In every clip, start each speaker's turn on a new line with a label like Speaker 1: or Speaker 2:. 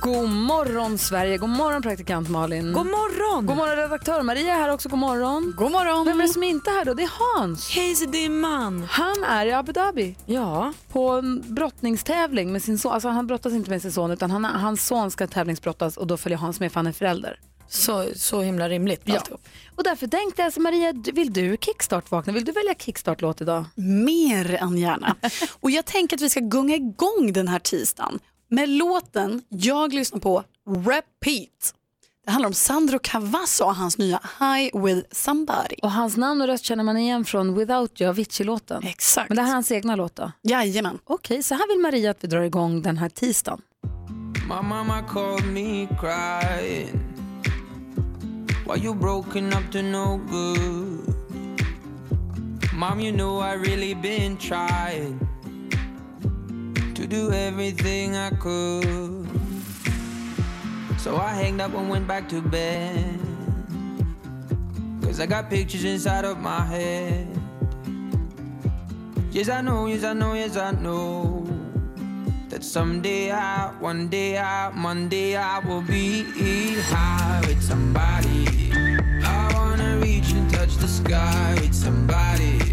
Speaker 1: God morgon Sverige, god morgon praktikant Malin.
Speaker 2: God morgon!
Speaker 1: God morgon redaktör Maria är här också, god morgon. God morgon. Vem är det som inte är här då? Det är Hans.
Speaker 2: Casey, det är man.
Speaker 1: Han är i Abu Dhabi
Speaker 2: Ja.
Speaker 1: på en brottningstävling med sin son. Alltså han brottas inte med sin son utan han, hans son ska tävlingsbrottas och då följer Hans med för han är förälder.
Speaker 2: Så, så himla rimligt alltihop.
Speaker 1: Och därför tänkte jag, så Maria, du- vill du kickstart-vakna? Vill du välja kickstart-låt idag?
Speaker 3: Mer än gärna. Och jag tänker att vi ska gunga igång den här tisdagen med låten jag lyssnar på, Repeat. Det handlar om Sandro Cavazzo och hans nya High with somebody.
Speaker 1: Och hans namn och röst känner man igen från Without You, Avicii-låten.
Speaker 3: Exakt.
Speaker 1: Men det här är hans egna låt då?
Speaker 3: Jajamän.
Speaker 1: Okej, så här vill Maria att vi drar igång den här tisdagen.
Speaker 4: My mama called me crying. Why you broken up to no good? Mom, you know I really been trying to do everything I could. So I hanged up and went back to bed. Cause I got pictures inside of my head. Yes, I know, yes, I know, yes, I know that someday I, one day I, Monday I will be high with somebody. I wanna reach and touch the sky with somebody.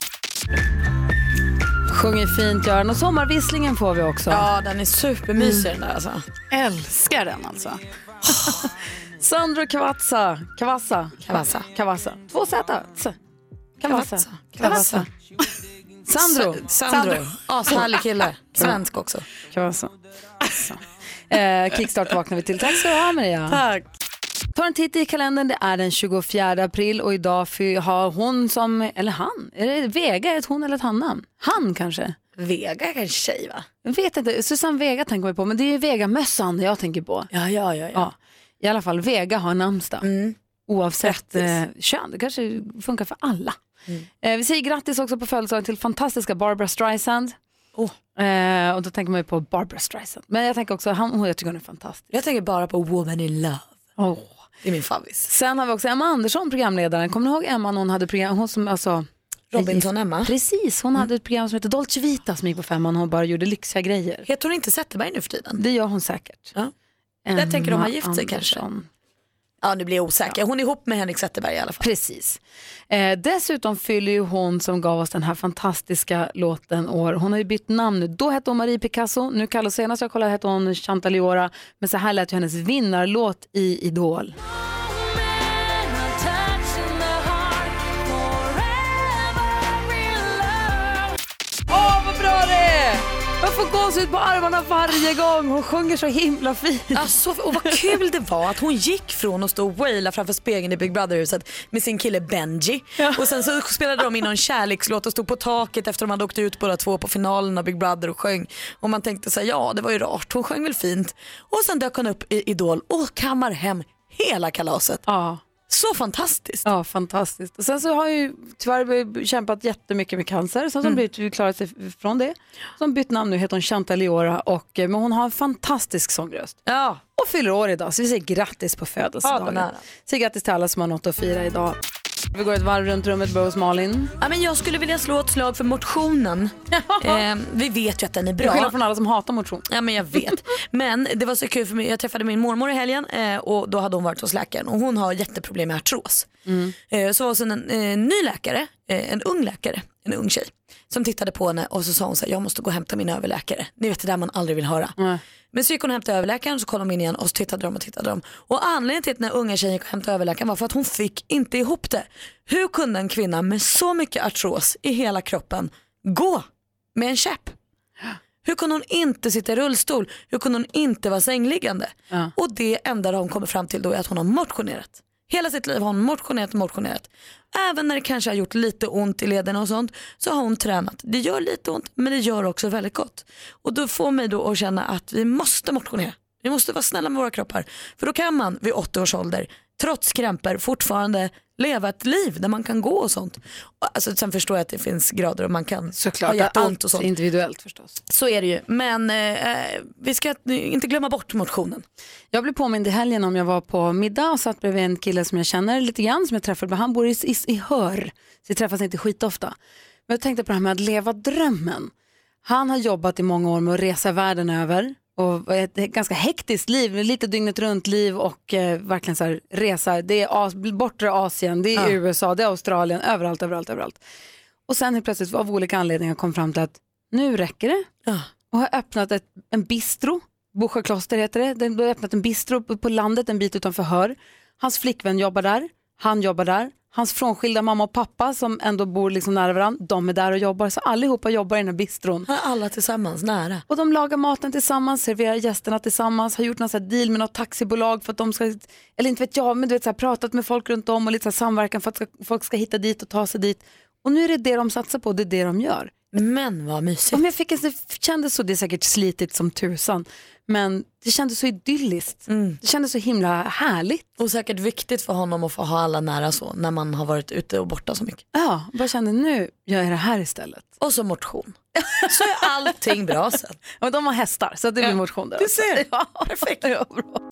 Speaker 1: Sjunger fint Göran och sommarvisslingen får vi också. Mm.
Speaker 2: Ja, den är supermysig den där alltså.
Speaker 3: Älskar den alltså.
Speaker 1: Sandro Cavazza, Cavazza,
Speaker 2: Cavazza.
Speaker 1: Cavazza. Två Z. S. Cavazza.
Speaker 2: Cavazza. Cavazza.
Speaker 1: Sandro.
Speaker 2: S- Sandro. Ashärlig kille. Svensk också.
Speaker 1: Cavazza. Så. Eh, kickstart vaknar vi till. Tack ska du ha Maria.
Speaker 3: Tack.
Speaker 1: Ta en titt i kalendern, det är den 24 april och idag fy- har hon som, eller han, är det Vega, är det ett hon eller ett han-namn? Han kanske?
Speaker 2: Vega är en tjej va?
Speaker 1: Jag vet inte, Susanne Vega tänker man på, men det är ju Vega-mössan jag tänker på.
Speaker 2: Ja, ja, Mm. ja. ja.
Speaker 1: Ja, i alla fall Vega har namnsdag. Oavsett eh, kön, det kanske funkar för alla. Eh, vi säger grattis också på födelsedagen till fantastiska Barbara Streisand.
Speaker 2: Oh.
Speaker 1: Eh, och då tänker man ju på Barbara Streisand. Men jag tänker också, han, oh, jag tycker hon är fantastisk.
Speaker 2: Jag tänker bara på Woman in Love.
Speaker 1: Åh.
Speaker 2: Det är min favvis.
Speaker 1: Sen har vi också Emma Andersson, programledaren. Kommer ni ihåg Emma när hon hade program, hon som alltså
Speaker 2: Robinson-Emma.
Speaker 1: Precis, hon hade ett program som hette Dolce Vita som gick på femman och hon bara gjorde lyxiga grejer.
Speaker 2: Heter hon inte Zetterberg nu för tiden?
Speaker 1: Det gör hon säkert.
Speaker 2: Ja. Jag tänker de har gift sig
Speaker 1: Emma
Speaker 2: kanske.
Speaker 1: Andersson.
Speaker 2: Ja, nu blir jag osäker. Hon är ihop med Henrik Zetterberg i alla fall.
Speaker 1: Precis. Eh, dessutom fyller ju hon som gav oss den här fantastiska låten år. Hon har ju bytt namn nu. Då hette hon Marie Picasso, nu kallar senast jag kollade hette hon Chantal Iora. Men så här lät ju hennes vinnarlåt i Idol. Åh, vad bra det är! Jag får gåshud på armarna varje gång. Hon sjunger så himla fint.
Speaker 2: Alltså, och vad kul det var att hon gick från att stå och waila framför spegeln i Big Brother-huset med sin kille Benji. Och sen så spelade de in någon kärlekslåt och stod på taket efter de hade åkt ut båda två på finalen av Big Brother och sjöng. Och man tänkte så här, ja det var ju rart, hon sjöng väl fint. Och sen dök hon upp i Idol och kammar hem hela kalaset.
Speaker 1: Ja.
Speaker 2: Så fantastiskt.
Speaker 1: Ja, fantastiskt. Och sen så har jag ju tyvärr kämpat jättemycket med cancer, sen så
Speaker 2: Mm.
Speaker 1: har hon blivit klarat sig från det. Så har hon bytt namn nu, heter hon Chantal Iora, och, eh, men hon har en fantastisk sångröst.
Speaker 2: Ja,
Speaker 1: Och fyller år idag, så vi säger grattis på födelsedagen.
Speaker 2: Ja, den är det.
Speaker 1: säger grattis till alla som har något att fira idag. Vi går ett varv runt rummet, börjar hos Malin.
Speaker 2: ja men jag skulle vilja slå ett slag för motionen. eh, vi vet ju att den är
Speaker 1: Till
Speaker 2: bra.
Speaker 1: skillnad från alla som hatar motion.
Speaker 2: Ja men jag vet. Men det var så kul för mig. jag träffade min mormor i helgen eh, och då hade hon varit hos läkaren och hon har jätteproblem med artros. Eh, så var hon en eh, ny läkare, eh, en ung läkare, en ung tjej som tittade på henne och så sa hon så här, jag måste gå och hämta min överläkare. Ni vet det där man aldrig vill höra. Men så gick hon och hämtade överläkaren så kollade de in igen och så tittade de och tittade de. Och anledningen till att den här unga tjejen gick och hämtade överläkaren var för att hon fick inte ihop det. Hur kunde en kvinna med så mycket artros i hela kroppen gå med en käpp? Hur kunde hon inte sitta i rullstol? Hur kunde hon inte vara sängliggande? Och det enda hon kommer fram till då är att hon har motionerat. Hela sitt liv har hon motionerat och motionerat. Även när det kanske har gjort lite ont i lederna och sånt så har hon tränat. Det gör lite ont men det gör också väldigt gott. Och då får mig då att känna att vi måste motionera. Vi måste vara snälla med våra kroppar. För då kan man vid 80 års ålder trots krämpor fortfarande leva ett liv där man kan gå och sånt. Och, Alltså, sen förstår jag att det finns grader och man kan
Speaker 1: Såklart
Speaker 2: ha allt
Speaker 1: att
Speaker 2: och
Speaker 1: allt är
Speaker 2: sånt.
Speaker 1: individuellt förstås.
Speaker 2: Så är det ju. Men eh, vi ska inte glömma bort motionen.
Speaker 1: Jag blev påmind i helgen om jag var på middag och satt bredvid en kille som jag känner lite grann som jag träffade, men han bor i, i, i Hör. Så vi träffas inte skitofta. Men jag tänkte på det här med att leva drömmen. Han har jobbat i många år med att resa världen över och ett ganska hektiskt liv, lite dygnet runt liv och eh, verkligen så här resa. Det är As- bortre Asien, det är USA, det är Australien, överallt, överallt, överallt. Och sen helt plötsligt av olika anledningar kom fram till att nu räcker det
Speaker 2: Ja.
Speaker 1: och har öppnat ett, en bistro, Bosjö kloster heter det. Den har öppnat en bistro på- på landet en bit utanför Hör. Hans flickvän jobbar där, han jobbar där. Hans frånskilda mamma och pappa som ändå bor liksom nära varandra, de är där och jobbar. Så allihopa jobbar i den här bistron.
Speaker 2: Här är alla tillsammans nära.
Speaker 1: Och de lagar maten tillsammans, serverar gästerna tillsammans, har gjort någon så här deal med något taxibolag för att de ska, eller inte vet jag, men du vet så här, pratat med folk runt om och lite så här samverkan för att ska, folk ska hitta dit och ta sig dit. Och nu är det det de satsar på, det är det de gör.
Speaker 2: Men vad mysigt.
Speaker 1: Ja, men jag fick en, det kändes så, det är säkert slitigt som tusan, men det kändes så idylliskt.
Speaker 2: Mm.
Speaker 1: Det kändes så himla härligt.
Speaker 2: Och säkert viktigt för honom att få ha alla nära så när man har varit ute och borta så mycket.
Speaker 1: Ja, bara kände nu gör jag det här istället.
Speaker 2: Och så motion. Så är allting bra sen.
Speaker 1: Och de har hästar så det blir motion där.
Speaker 2: Du
Speaker 1: också.
Speaker 2: ser.
Speaker 1: Ja, perfekt. Ja, bra.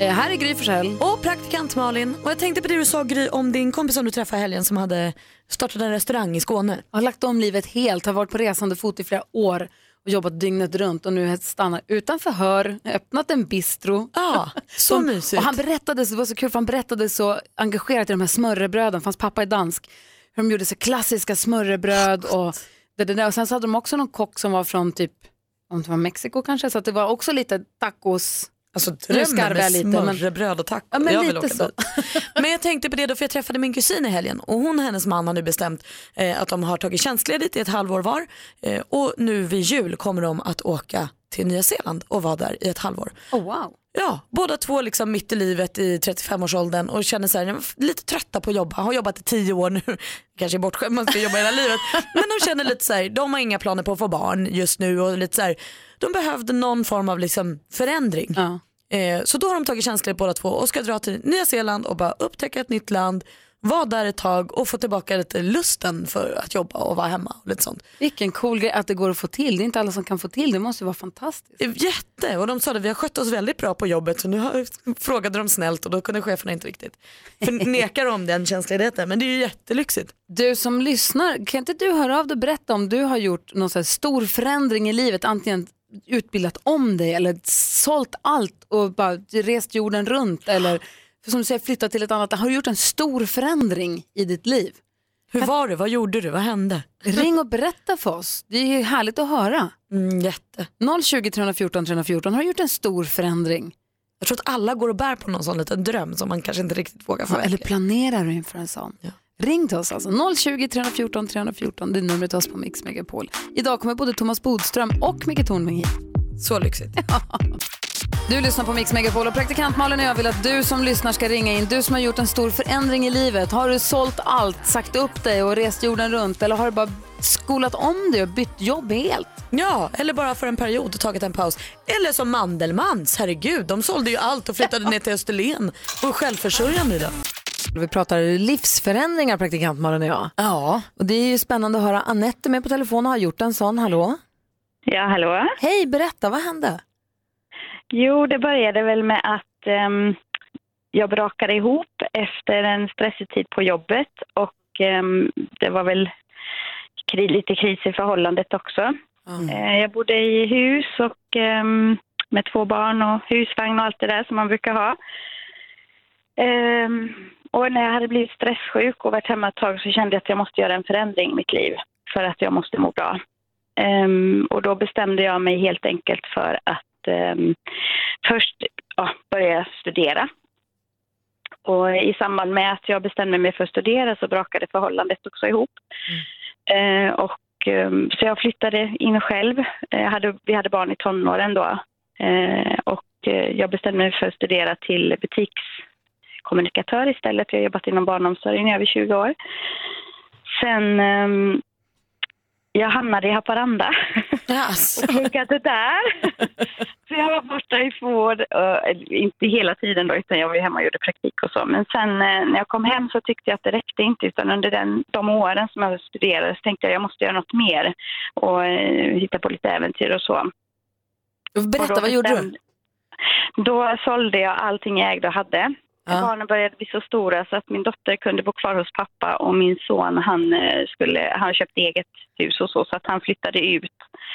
Speaker 1: Eh, här är Gry Forssell.
Speaker 2: Och praktikant Malin, och jag tänkte på det du sa Gry om din kompis som du träffade i helgen som hade startat en restaurang i Skåne.
Speaker 1: har lagt om livet helt, har varit på resande fot i flera år och jobbat dygnet runt och nu stannar utan förhör, öppnat en bistro.
Speaker 2: Ja, Ah, så
Speaker 1: Som-
Speaker 2: mysigt.
Speaker 1: Och han berättade, så, det var så kul för han berättade så engagerat i de här smörrebröden, för hans pappa är dansk, hur de gjorde så klassiska smörrebröd
Speaker 2: Ah,
Speaker 1: och det, det där. Och sen så hade de också någon kock som var från typ, om det var Mexiko kanske, så att det var också lite tacos.
Speaker 2: Alltså
Speaker 1: Nu
Speaker 2: drömmen
Speaker 1: skarvar
Speaker 2: med
Speaker 1: jag lite, men-
Speaker 2: smörrebröd och tacos.
Speaker 1: Ja, men
Speaker 2: jag vill
Speaker 1: lite
Speaker 2: åka
Speaker 1: så.
Speaker 2: dit. Men jag tänkte på det då för jag träffade min kusin i helgen och hon och hennes man har nu bestämt eh, att de har tagit tjänstledigt i ett halvår var eh, och nu vid jul kommer de att åka till Nya Zeeland och vara där i ett halvår.
Speaker 1: Oh, wow.
Speaker 2: Ja, båda två liksom mitt i livet i 35-årsåldern och känner sig lite trötta på att jobba. Har jobbat i 10 år nu, kanske är bortskämd man ska jobba hela livet. Men de känner lite så här, de har inga planer på att få barn just nu och lite så här, de behövde någon form av liksom förändring.
Speaker 1: Ja.
Speaker 2: Eh, så då har de tagit tjänstledigt båda två och ska dra till Nya Zeeland och bara upptäcka ett nytt land, vara där ett tag och få tillbaka lite lusten för att jobba och vara hemma och lite sånt.
Speaker 1: Vilken cool grej att det går att få till, det är inte alla som kan få till det, det måste ju vara fantastiskt.
Speaker 2: Det är Jätte, och de sa det, vi har skött oss väldigt bra på jobbet så nu har, frågade de snällt och då kunde cheferna inte riktigt förneka dem den tjänstledigheten men det är ju jättelyxigt.
Speaker 1: Du som lyssnar, kan inte du höra av dig och berätta om du har gjort någon så här stor förändring i livet, antingen utbildat om dig eller sålt allt och bara rest jorden runt eller för som du säger flyttat till ett annat Har du gjort en stor förändring i ditt liv?
Speaker 2: Hur var det, vad gjorde du, vad hände?
Speaker 1: Ring och berätta för oss, det är ju härligt att höra.
Speaker 2: Mm, jätte.
Speaker 1: 020 314 314, har du gjort en stor förändring?
Speaker 2: Jag tror att alla går och bär på någon sån liten dröm som man kanske inte riktigt vågar
Speaker 1: Ja, eller
Speaker 2: förverkliga.
Speaker 1: planerar du inför en sån?
Speaker 2: Ja.
Speaker 1: Ring till oss alltså, 020-314 314, det är numret till oss på Mix Megapol. Idag kommer både Thomas Bodström och Micke Tornving hit.
Speaker 2: Så lyxigt.
Speaker 1: Du lyssnar på Mix Megapol och praktikant Malin och jag vill att du som lyssnar ska ringa in. Du som har gjort en stor förändring i livet. Har du sålt allt, sagt upp dig och rest jorden runt eller har du bara skolat om dig och bytt jobb helt?
Speaker 2: Ja, eller bara för en period och tagit en paus. Eller som Mandelmans, herregud, de sålde ju allt och flyttade ner till Österlen och är självförsörjande idag.
Speaker 5: Vi pratar livsförändringar praktikant Malin och jag.
Speaker 2: Ja,
Speaker 5: Och det är ju spännande att höra. Anette är med på telefon och har gjort en sån. Hallå?
Speaker 6: Ja, hallå.
Speaker 5: Hej, berätta, vad hände?
Speaker 6: Jo, det började väl med att ehm, jag brakade ihop efter en stressig tid på jobbet och ehm, det var väl kri- lite kris i förhållandet också. Eh, jag bodde i hus och ehm, med två barn och husvagn och allt det där som man brukar ha. Ehm, och när jag hade blivit stresssjuk och varit hemma ett tag så kände jag att jag måste göra en förändring i mitt liv för att jag måste må bra. Ehm, och då bestämde jag mig helt enkelt för att ehm, först ja, börja studera. Och i samband med att jag bestämde mig för att studera så brakade förhållandet också ihop. Eh, och, ehm, så jag flyttade in själv. Eh, Jag hade, vi hade barn i tonåren då. Eh, och eh, jag bestämde mig för att studera till butikskommunikatör istället. Jag har jobbat inom barnomsorgen i över 20 år. Sen ehm, jag hamnade i Haparanda.
Speaker 2: Jaså.
Speaker 6: och funkat det där. så jag var borta i två år, eh, eller inte hela tiden då, utan jag var ju hemma och gjorde praktik och så. Men sen eh, när jag kom hem så tyckte jag att det räckte inte, utan under den, de åren som jag studerade så tänkte jag jag måste göra något mer och eh, hitta på lite äventyr och så.
Speaker 1: Berätta,
Speaker 6: Och då
Speaker 1: vad gjorde du?
Speaker 6: bestämde- Då sålde jag allting jag ägde och hade. Barnen började bli så stora så att min dotter kunde bo kvar hos pappa och min son han, eh, skulle, han köpte eget hus och så, så att han flyttade ut.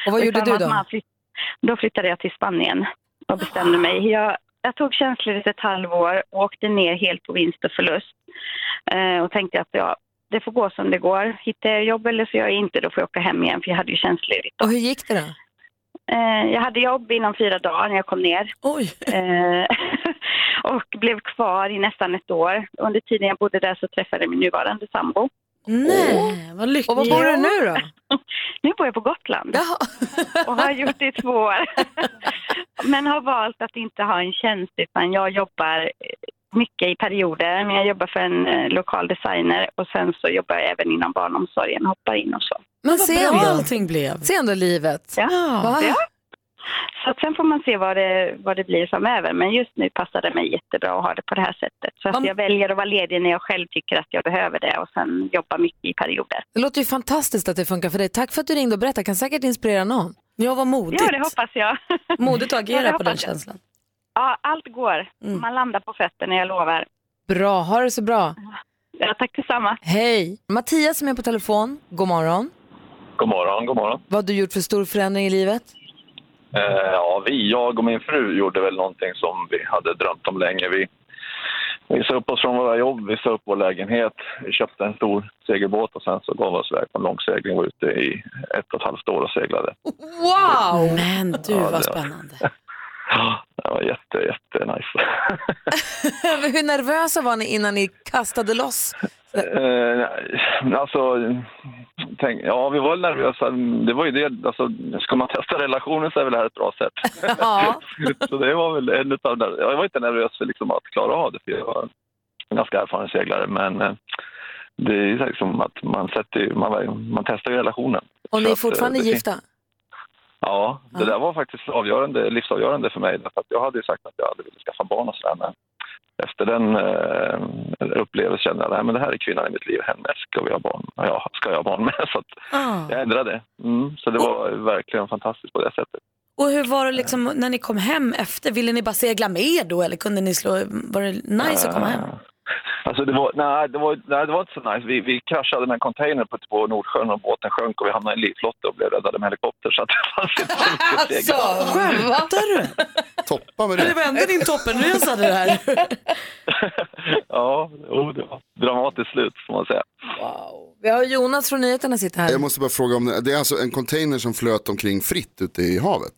Speaker 1: Och vad
Speaker 6: Och
Speaker 1: gjorde
Speaker 6: ifall
Speaker 1: du
Speaker 6: man-
Speaker 1: då?
Speaker 6: man flytt- då flyttade jag till Spanien och bestämde mig. Jag, jag tog tjänstledigt ett halvår och åkte ner helt på vinst och förlust. Eh, och tänkte att ja, det får gå som det går. Hittar jag jobb eller så gör jag inte, då får jag åka hem igen för jag hade ju tjänstledigt. då.
Speaker 1: Och hur gick det då?
Speaker 6: Eh, jag hade jobb inom fyra dagar när jag kom ner.
Speaker 2: Oj.
Speaker 6: Eh, och blev kvar i nästan ett år. Under tiden jag bodde där så träffade jag min nuvarande sambo.
Speaker 2: Nej, vad lyckligt.
Speaker 1: Och var bor du nu då?
Speaker 6: Nu bor jag på Gotland och har gjort det i två år. Men har valt att inte ha en tjänst utan jag jobbar eh, mycket i perioder. Men jag jobbar för en eh, lokal designer och sen så jobbar jag även inom barnomsorgen, hoppar in och så.
Speaker 1: Men se
Speaker 2: Vad bra
Speaker 1: ändå,
Speaker 2: allting blev.
Speaker 1: se ändå livet.
Speaker 6: Ja.
Speaker 2: Ah.
Speaker 1: Va?
Speaker 6: Ja. Så att sen får man se vad det, vad det blir framöver. Men just nu passar det mig jättebra att ha det på det här sättet. Så att
Speaker 2: Vad-
Speaker 6: jag väljer att vara ledig när jag själv tycker att jag behöver det och sen jobba mycket i perioder.
Speaker 1: Det låter ju fantastiskt att det funkar för dig. Tack för att du ringde och berättade, kan säkert inspirera någon.
Speaker 2: Jag var modigt.
Speaker 6: Ja, det hoppas jag.
Speaker 2: Modigt att
Speaker 6: Ja, det
Speaker 2: agera på
Speaker 6: hoppas
Speaker 2: den
Speaker 6: jag.
Speaker 2: känslan. Mm.
Speaker 6: Ja, allt går. Man landar på fötterna, jag lovar.
Speaker 1: Bra, ha det så bra.
Speaker 6: Ja, tack detsamma.
Speaker 1: Hej! Mattias som är på telefon, god morgon.
Speaker 7: God morgon, god morgon.
Speaker 1: Vad har du gjort för stor förändring i livet?
Speaker 7: Eh, ja, vi, jag och min fru gjorde väl någonting som vi hade drömt om länge. Vi, vi sa upp oss från våra jobb, vi sa upp vår lägenhet, vi köpte en stor segelbåt och sen så gav vi oss iväg på en långsegling och var ute i ett och ett halvt år och seglade.
Speaker 1: Wow!
Speaker 2: Men du,
Speaker 7: Ja,
Speaker 2: vad
Speaker 7: det-
Speaker 2: spännande.
Speaker 7: Ja, Det var jätte, jätte nice.
Speaker 1: Hur nervösa var ni innan ni kastade loss?
Speaker 7: Eh, nej, alltså, tänk, ja, vi var väl nervösa. Det var ju det, alltså, ska man testa relationen så är väl det här ett bra sätt.
Speaker 1: Ja.
Speaker 7: så det var väl en utav där. Jag var inte nervös för liksom att klara av det, för jag var en ganska erfaren seglare. Men eh, det är ju liksom att man, sätter, ju- man, man testar ju relationen.
Speaker 1: Och ni
Speaker 7: Så
Speaker 1: är
Speaker 7: att, eh,
Speaker 1: fortfarande
Speaker 7: det fin-
Speaker 1: gifta?
Speaker 7: Ja, det där var faktiskt avgörande, livsavgörande för mig. Därför att jag hade ju sagt att jag hade velat skaffa barn och sådär. Men efter den eh, upplevelsen kände jag att det här är kvinnan i mitt liv. Henne ska, vi ha barn. Ja, ska jag ha barn med. Så att
Speaker 2: Ah.
Speaker 7: jag ändrade. Mm, så det var verkligen fantastiskt på det sättet.
Speaker 2: Och hur var det liksom när ni kom hem efter? Ville ni bara segla med då eller kunde ni slå, var det nice att komma hem?
Speaker 7: Alltså det var, nej, det var, nej, det var inte så nice. Vi, vi kraschade med en container på, på Nordsjön och båten sjönk och vi hamnade i en livflotte och blev räddade med helikopter. Så att det fanns inte så mycket att segla.
Speaker 2: Alltså, Skämtar du?
Speaker 8: Toppa med det.
Speaker 2: vände din toppenresa det här.
Speaker 7: Ja, jo, det var dramatiskt slut får man säga.
Speaker 1: Wow. Vi har Jonas från nyheterna sitter här.
Speaker 9: Jag måste bara fråga om det. Det är alltså en container som flöt omkring fritt ute i havet.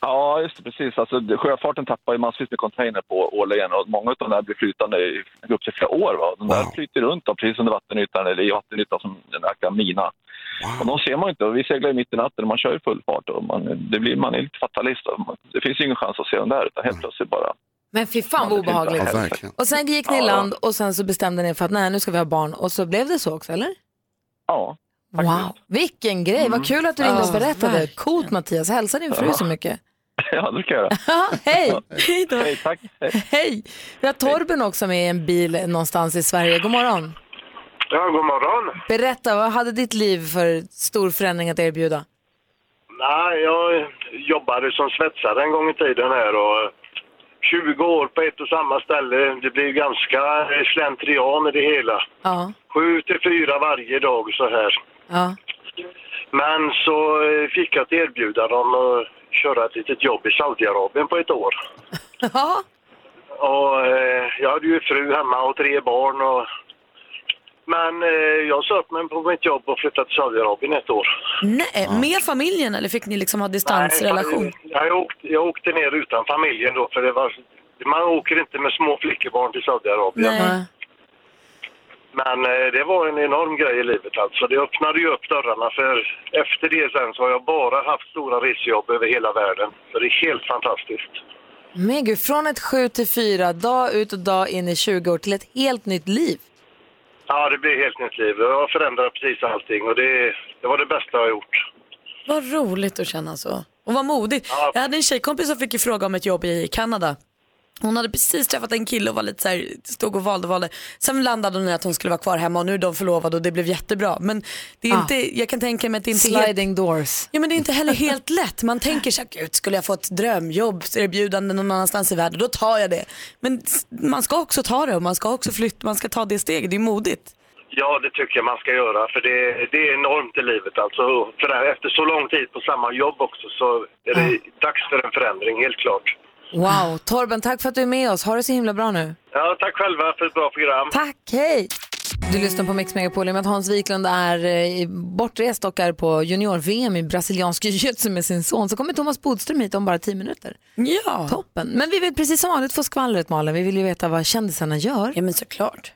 Speaker 7: Ja, just det, precis. Alltså, det- sjöfarten tappar ju massvis med container på årligen och många av de där blir flytande i upp till flera år. Va? De där
Speaker 9: Wow.
Speaker 7: flyter runt då, precis under vattenytan eller i vattenytan som en jäkla mina. Och de ser man ju inte. Och Vi seglar ju mitt i natten och man kör i full fart. Och man, det blir, man är lite fatalist. Och man- Det finns ju ingen chans att se dem där utan helt plötsligt bara...
Speaker 1: Men fy fan vad obehagligt.
Speaker 9: Ja, verkligen.
Speaker 1: Och sen gick ni i
Speaker 7: Ja.
Speaker 1: land och sen så bestämde ni er för att nej, nu ska vi ha barn och så blev det så också, eller?
Speaker 7: Ja,
Speaker 1: Wow, vilken grej. Vad kul att du ringde och
Speaker 2: Ja,
Speaker 1: berättade.
Speaker 2: verkligen.
Speaker 1: Coolt Mattias, hälsa din fru så mycket.
Speaker 7: ja det ska jag göra.
Speaker 1: Ja, Hej!
Speaker 2: Hej då.
Speaker 7: Hej, tack. Hej.
Speaker 1: Hej! Vi har Torben också med i en bil någonstans i Sverige. God morgon.
Speaker 7: Ja, god morgon.
Speaker 1: Berätta, vad hade ditt liv för stor förändring att erbjuda?
Speaker 7: Nej, jag jobbade som svetsare en gång i tiden här och 20 år på ett och samma ställe. Det blir ganska slentrian i det hela.
Speaker 1: Ja,
Speaker 7: Sju till fyra varje dag så här.
Speaker 1: ja.
Speaker 7: Men så eh, fick jag ett erbjudande om att köra ett litet jobb i Saudiarabien på ett år.
Speaker 1: ja.
Speaker 7: Och eh, jag hade ju fru hemma och tre barn och... Men eh, jag sa upp mig på mitt jobb och flyttade till Saudiarabien ett år.
Speaker 2: Nej, med familjen eller fick ni liksom ha
Speaker 7: Nej,
Speaker 2: distansrelation?
Speaker 7: Jag, jag, åkte, jag åkte ner utan familjen då för det var... Man åker inte med små flickebarn till Saudiarabien.
Speaker 2: Nej.
Speaker 7: Men eh, det var en enorm grej i livet alltså. Det öppnade ju upp dörrarna för efter det sen så har jag bara haft stora resjobb över hela världen. Så det är helt fantastiskt.
Speaker 1: Men gud, från ett sju till fyra, dag ut och dag in i 20 år till ett helt nytt liv.
Speaker 7: Ja, det blev helt nytt liv. Jag förändrade precis allting och det, det var det bästa jag har gjort.
Speaker 2: Vad roligt att känna så. Och vad modigt. Jag hade en tjejkompis som fick ju fråga om ett jobb i Kanada. Hon hade precis träffat en kille och var lite så här, stod och valde och valde. Sen landade hon i att hon skulle vara kvar hemma och nu är de förlovade och det blev jättebra. Men det är
Speaker 10: Ah.
Speaker 2: inte, jag kan tänka mig att det är inte är helt,
Speaker 10: Sliding doors.
Speaker 2: ja, men det är inte heller helt lätt. Man tänker så här, gud skulle jag få ett drömjobb, erbjudande någon annanstans i världen, då tar jag det. Men s- man ska också ta det och man ska också flytta, man ska ta det steget, det är modigt.
Speaker 11: Ja, det tycker jag man ska göra. För det, det är enormt i livet. Alltså, för det här, efter så lång tid på samma jobb också så är det dags för en förändring, helt klart.
Speaker 2: Ah.
Speaker 1: Wow, Torben tack för att du är med oss. Ha det så himla bra nu.
Speaker 11: Ja, tack själva för ett bra program.
Speaker 1: Tack, hej! Du lyssnar på Mix Megapol i och med att Hans Wiklund är eh, bortrest och är på junior-VM i brasiliansk jiu-jitsu med sin son så kommer Thomas Bodström hit om bara tio minuter.
Speaker 2: Ja.
Speaker 1: Toppen. Men vi vill precis som vanligt få skvallret Malin. Vi vill ju veta vad kändisarna gör.
Speaker 2: Ja men såklart.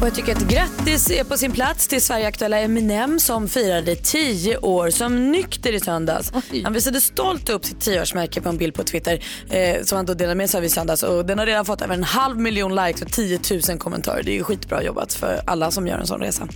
Speaker 2: Och jag tycker att grattis är på sin plats till Sverigeaktuella Eminem som firade 10 år som nykter i söndags. Han visade stolt upp sitt 10-årsmärke på en bild på Twitter eh, som han då delade med sig av i söndags och den har redan fått över en halv miljon likes och 10 000 kommentarer. Det är ju skitbra jobbat för alla som gör en sån resa.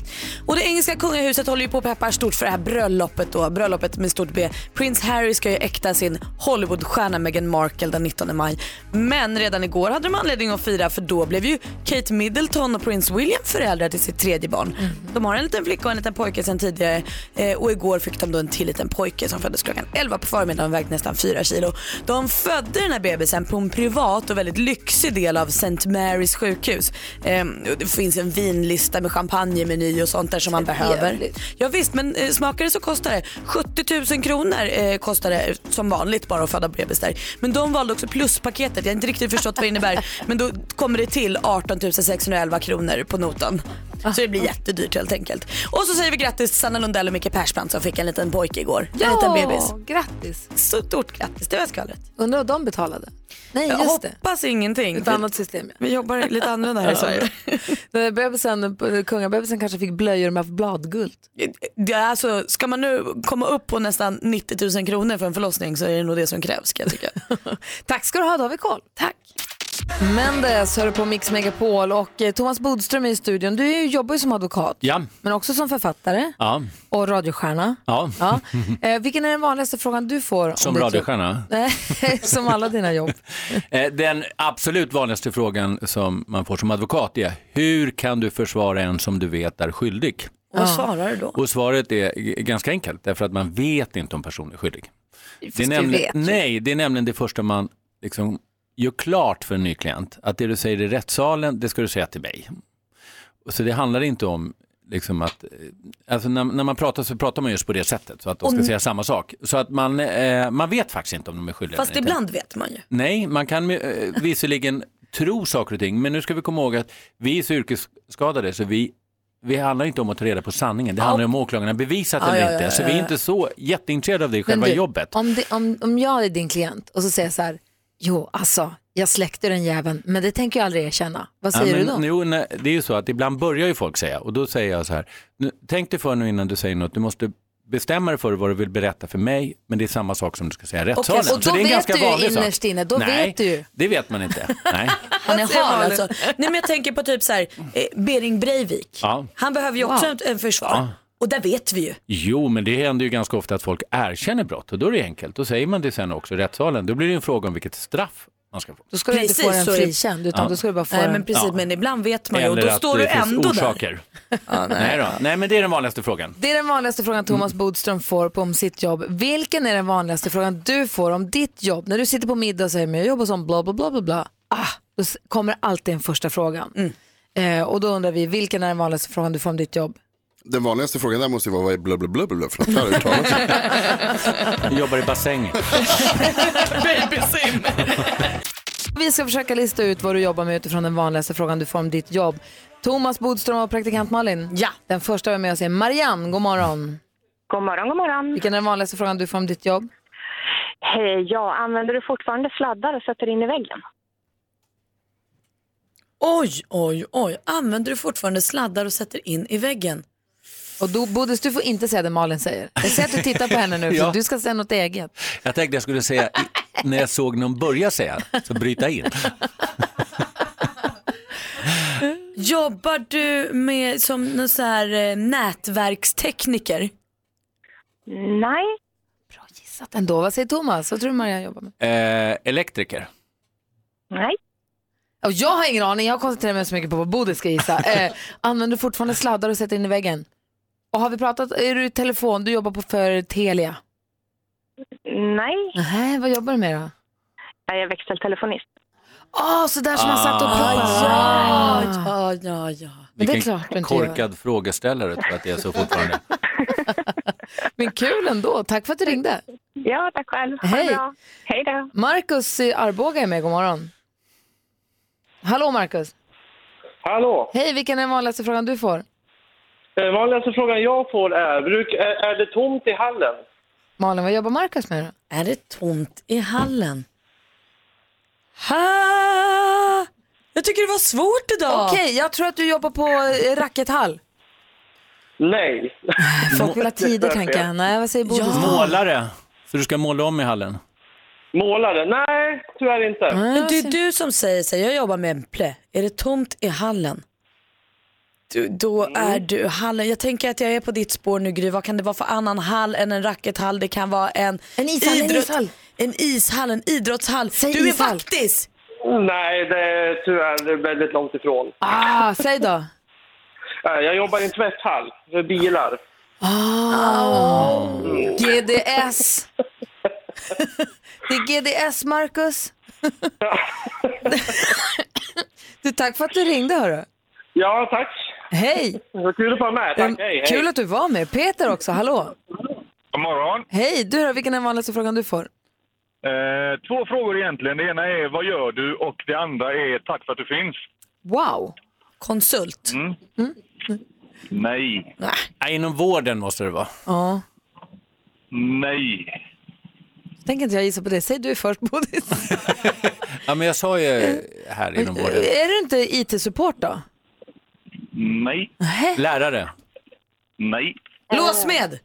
Speaker 2: Och det engelska kungahuset håller ju på och peppar stort för det här bröllopet då, bröllopet med stort B. Prins Harry ska ju äkta sin Hollywoodstjärna Meghan Markle den 19 maj. Men redan igår hade de anledning att fira för då blev ju Kate Middleton och prins William föräldrar till sitt tredje barn. De har en liten flicka och en liten pojke sedan tidigare eh, och igår fick de då en till liten pojke som föddes klockan 11 på förmiddagen och vägde nästan 4 kilo. De födde den här bebisen på en privat och väldigt lyxig del av St. Marys sjukhus. Ehm, och det finns en vinlista med champagnemeny och sånt där som man behöver.
Speaker 1: Trevligt.
Speaker 2: Ja, visst, men eh, smakar det så kostar det. 70 000 kronor eh, kostar det som vanligt bara att föda bebis där. Men de valde också pluspaketet. Jag har inte riktigt förstått vad det innebär. Men då kommer det till 18 611 kronor på notan. Så det blir jättedyrt helt enkelt. Och så säger vi grattis till Sanna Lundell och Micke Persbrandt som fick en liten pojke igår. en liten bebis.
Speaker 10: grattis.
Speaker 2: Stort grattis, det var skvallret.
Speaker 10: Undrar vad de betalade? Nej,
Speaker 2: Jag
Speaker 10: just det.
Speaker 2: hoppas ingenting.
Speaker 10: Ett annat system. ja.
Speaker 2: Vi jobbar lite annorlunda här i Sverige.
Speaker 1: Den där bebisen, kungabebisen kanske fick blöjor med bladguld.
Speaker 2: Det är alltså, ska man nu komma upp på nästan 90 000 kronor för en förlossning så är det nog det som krävs kan jag tycka.
Speaker 1: Tack ska du ha, då har vi koll. Tack. Mendes hör du på Mix Megapol och eh, Thomas Bodström är i studion. Du är ju- jobbar ju som advokat
Speaker 12: Ja.
Speaker 1: men också som författare
Speaker 12: Ja.
Speaker 1: och radiostjärna.
Speaker 12: Ja.
Speaker 1: Ja. Eh, vilken är den vanligaste frågan du får? om
Speaker 12: Som
Speaker 1: ditt jobb?
Speaker 12: radiostjärna?
Speaker 1: Nej, som alla dina jobb.
Speaker 12: Eh, Den absolut vanligaste frågan som man får som advokat är hur kan du försvara en som du vet är skyldig?
Speaker 2: Vad svarar du då?
Speaker 12: Och svaret är g- ganska enkelt, därför att man vet inte om personen är skyldig.
Speaker 2: du
Speaker 12: nämligen,
Speaker 2: vet ju.
Speaker 12: nej, det är nämligen det första man liksom gör klart för en ny klient, att det du säger i rättssalen, det ska du säga till mig. Och Så det handlar inte om liksom att, eh, alltså när, när man pratar så pratar man just på det sättet, så att de ska
Speaker 2: Om-
Speaker 12: säga samma sak. Så att man, eh, man vet faktiskt inte om de är skyldiga
Speaker 2: Fast
Speaker 12: eller inte.
Speaker 2: ibland vet man ju.
Speaker 12: Nej, man kan eh, visserligen tro saker och ting, men nu ska vi komma ihåg att vi är så yrkesskadade så vi, vi handlar inte om att ta reda på sanningen, det handlar om åklagarna bevisat
Speaker 1: Ja,
Speaker 12: eller
Speaker 1: ja,
Speaker 12: inte,
Speaker 1: ja,
Speaker 12: så
Speaker 1: ja,
Speaker 12: vi är
Speaker 1: ja.
Speaker 12: inte så jätteintresserade av det i själva
Speaker 1: du,
Speaker 12: jobbet.
Speaker 1: Om, det, om, om jag är din klient och så säger jag så här, jo alltså, jag släckte den jäveln, men det tänker jag aldrig erkänna. Vad säger
Speaker 12: ja,
Speaker 1: du då?
Speaker 12: men, Jo, nej, det är ju så att ibland börjar ju folk säga, och då säger jag så här, nu, tänk dig för nu innan du säger något, du måste bestämma dig för vad du vill berätta för mig, men det är samma sak som du ska säga i rättssalen.
Speaker 1: Okej, och då
Speaker 12: så det är en
Speaker 1: vet
Speaker 12: ganska
Speaker 1: du ju
Speaker 12: vanlig sak.
Speaker 1: innerst inne, då
Speaker 12: Nej,
Speaker 1: vet du ju.
Speaker 12: det vet man inte. Nej.
Speaker 2: Han är
Speaker 1: säger
Speaker 2: hal
Speaker 1: Malin?
Speaker 2: alltså. Nej men jag tänker på typ så här, eh, Bering Breivik.
Speaker 12: Ja.
Speaker 2: Han behöver ju också
Speaker 12: Wow.
Speaker 2: en- en försvar.
Speaker 12: Ja.
Speaker 2: Och där vet vi ju.
Speaker 12: Jo, men det händer ju ganska ofta att folk erkänner brott och då är det enkelt. Då säger man det sen också i rättssalen. Då blir det ju en fråga om vilket straff man ska få.
Speaker 1: Då ska du inte få den
Speaker 2: så är det-
Speaker 1: frikänd, utan då ska du bara få
Speaker 2: Nej,
Speaker 1: den-
Speaker 2: men precis,
Speaker 12: Ja.
Speaker 2: men ibland vet man ju och
Speaker 12: Eller
Speaker 2: då
Speaker 12: att
Speaker 2: står
Speaker 12: det
Speaker 2: du
Speaker 12: finns
Speaker 2: ändå där.
Speaker 12: orsaker. nej. då. nej, men det är den vanligaste frågan.
Speaker 1: Det är den vanligaste
Speaker 12: Mm.
Speaker 1: frågan Thomas Bodström får på om sitt jobb. Vilken är den vanligaste frågan du får om ditt jobb? När du sitter på middag och säger men jag jobbar som bla bla bla bla bla. Ah, då s- kommer alltid den första frågan. Eh, och då undrar vi, vilken är den vanligaste frågan du får om ditt jobb?
Speaker 9: Den vanligaste frågan där måste ju vara vad är blubblubblubblub för något? Där har du talat om.
Speaker 12: Jag jobbar i bassängen.
Speaker 2: Babysim!
Speaker 1: Vi ska försöka lista ut vad du jobbar med utifrån den vanligaste frågan du får om ditt jobb. Thomas Bodström och praktikant Malin.
Speaker 2: Ja.
Speaker 1: Den första vi har med oss är Marianne, god morgon.
Speaker 13: God morgon, god morgon.
Speaker 1: Vilken är den vanligaste frågan du får om ditt jobb?
Speaker 13: Hej, ja, använder du fortfarande sladdar och sätter in i väggen?
Speaker 2: Oj, oj, oj. Använder du fortfarande sladdar och sätter in i väggen?
Speaker 1: Och då, Bodis, du får inte säga det Malin säger. Eh, Jag ser att du tittar på henne nu, för
Speaker 12: Ja.
Speaker 1: du ska säga något eget.
Speaker 12: Jag tänkte jag skulle säga, i- när jag såg någon börja säga, så bryta in.
Speaker 2: Jobbar du med som någon så här eh, nätverkstekniker?
Speaker 13: Nej.
Speaker 1: Satt ändå. Vad säger Thomas? Vad tror du Maria jobbar med?
Speaker 12: Eh, elektriker.
Speaker 13: Nej.
Speaker 1: Och jag har ingen aning. Jag koncentrerar mig så mycket på vad Bodil ska gissa. Eh, använder du fortfarande sladdar och sätter in i väggen? Och har vi pratat, är du i telefon? Du jobbar på för Telia?
Speaker 13: Nej.
Speaker 1: Nej, vad jobbar du med då?
Speaker 13: Jag är växeltelefonist.
Speaker 1: Åh, Ah, så där som jag satt och pratade.
Speaker 2: Ja, ja, ja, ja.
Speaker 1: Men det är
Speaker 12: Ah. Vilken
Speaker 1: klart du inte gör.
Speaker 12: korkad frågeställare tror jag att det är så fortfarande.
Speaker 1: Men kul ändå. Tack för att du ringde.
Speaker 13: Ja, tack själv.
Speaker 1: Ha Hej.
Speaker 13: bra. Hej då.
Speaker 1: Marcus i Arboga är med. God morgon. Hallå Marcus.
Speaker 14: Hallå!
Speaker 1: Hej, vilken är den vanligaste frågan du får?
Speaker 14: Den vanligaste frågan jag får är, bruk, är, är det tomt i hallen?
Speaker 1: Malin, vad jobbar Marcus med då?
Speaker 2: Är det tomt i hallen? Ha! Jag tycker det var svårt idag.
Speaker 1: Okej, jag tror att du jobbar på eh, rackethall.
Speaker 14: Nej.
Speaker 1: Folk vill ha tider tänker jag. Nej, vad säger Bodil?
Speaker 12: Målare. Så du ska måla om i hallen.
Speaker 14: Målare? Nej, tyvärr
Speaker 15: Ah,
Speaker 14: inte.
Speaker 2: Men det är du som säger så här, jag jobbar med en plä. Är det tomt i hallen? Du, då
Speaker 15: Mm.
Speaker 2: är du hallen. Jag tänker att jag är på ditt spår nu Gry. Vad kan det vara för annan hall än en rackethall? Det kan vara en, en
Speaker 1: ishall, en ishall.
Speaker 2: En ishall, en idrottshall. du
Speaker 1: ishall.
Speaker 2: är vaktis!
Speaker 14: Nej, det är tyvärr väldigt långt ifrån.
Speaker 1: Ah, säg då.
Speaker 14: Eh, Jag jobbar i en tvätthall för bilar. Mm.
Speaker 1: Ah, GDS. det är GDS, Marcus. du, tack för att du ringde, hörru.
Speaker 14: Ja, tack.
Speaker 1: Hej!
Speaker 14: Vad kul att vara med. Tack, hej, hej.
Speaker 1: Kul att du var med. Peter också, hallå.
Speaker 15: God morgon.
Speaker 1: Hej, du då, vilken är den vanligaste frågan du får?
Speaker 15: Eh, två frågor egentligen. Det ena är vad gör du och det andra är tack för att du finns.
Speaker 1: Wow.
Speaker 2: Konsult.
Speaker 15: Mm. Nej.
Speaker 12: Nej, Ah, inom vården måste det vara.
Speaker 1: Ja,
Speaker 15: Nej.
Speaker 1: tänker inte jag gissa på det. Säg du först, Bodis.
Speaker 12: Ja, men jag sa ju här inom vården.
Speaker 1: är du inte IT-support då?
Speaker 15: Nej.
Speaker 12: Lärare.
Speaker 15: Nej.
Speaker 1: Låsmed?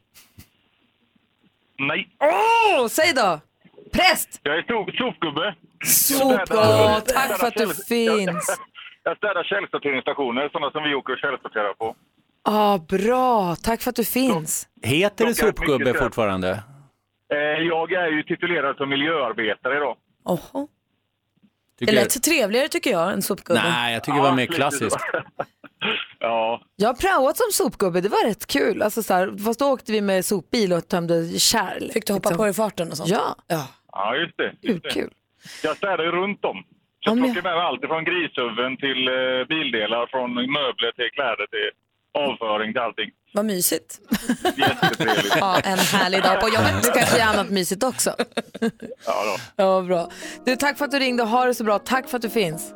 Speaker 15: Nej.
Speaker 1: Åh, säg då! Präst!
Speaker 15: Jag är sop, sopgubbe.
Speaker 1: Sopgubbe.
Speaker 15: Jag städar-
Speaker 1: Tack för att du
Speaker 15: jag städar käll-
Speaker 1: finns.
Speaker 15: Jag städar källsorteringsstationer, sådana som vi åker och källsorterar på.
Speaker 1: Ah, bra, tack för att du finns.
Speaker 12: Heter det
Speaker 15: Klockan är mycket
Speaker 12: sopgubbe
Speaker 15: sen.
Speaker 12: fortfarande?
Speaker 15: Eh, jag är ju titulerad som miljöarbetare idag.
Speaker 2: Oho.
Speaker 12: Tycker-
Speaker 2: Det lät trevligare tycker jag än sopgubben.
Speaker 12: Nej, jag tycker det var mer klassiskt.
Speaker 15: ja.
Speaker 1: Jag har praoat som sopgubbe, det var rätt kul. Alltså, så här, fast då åkte vi med sopbil och tömde kärl. Fick
Speaker 2: du hoppa på i farten och sånt?
Speaker 1: Ja.
Speaker 15: Ja, just det. Just det.
Speaker 1: Kul.
Speaker 15: Jag städar ju runt om. Så jag plockar med mig allt från grishuvuden till eh, bildelar, från möbler till kläder till avföring till allting.
Speaker 2: Vad mysigt.
Speaker 15: Jättetrevligt.
Speaker 1: Ja, en härlig dag på jobbet. Du kanske gör annat mysigt också.
Speaker 15: Ja, då.
Speaker 1: Ja, bra. Du, tack för att du ringde och ha det så bra. Tack för att du finns.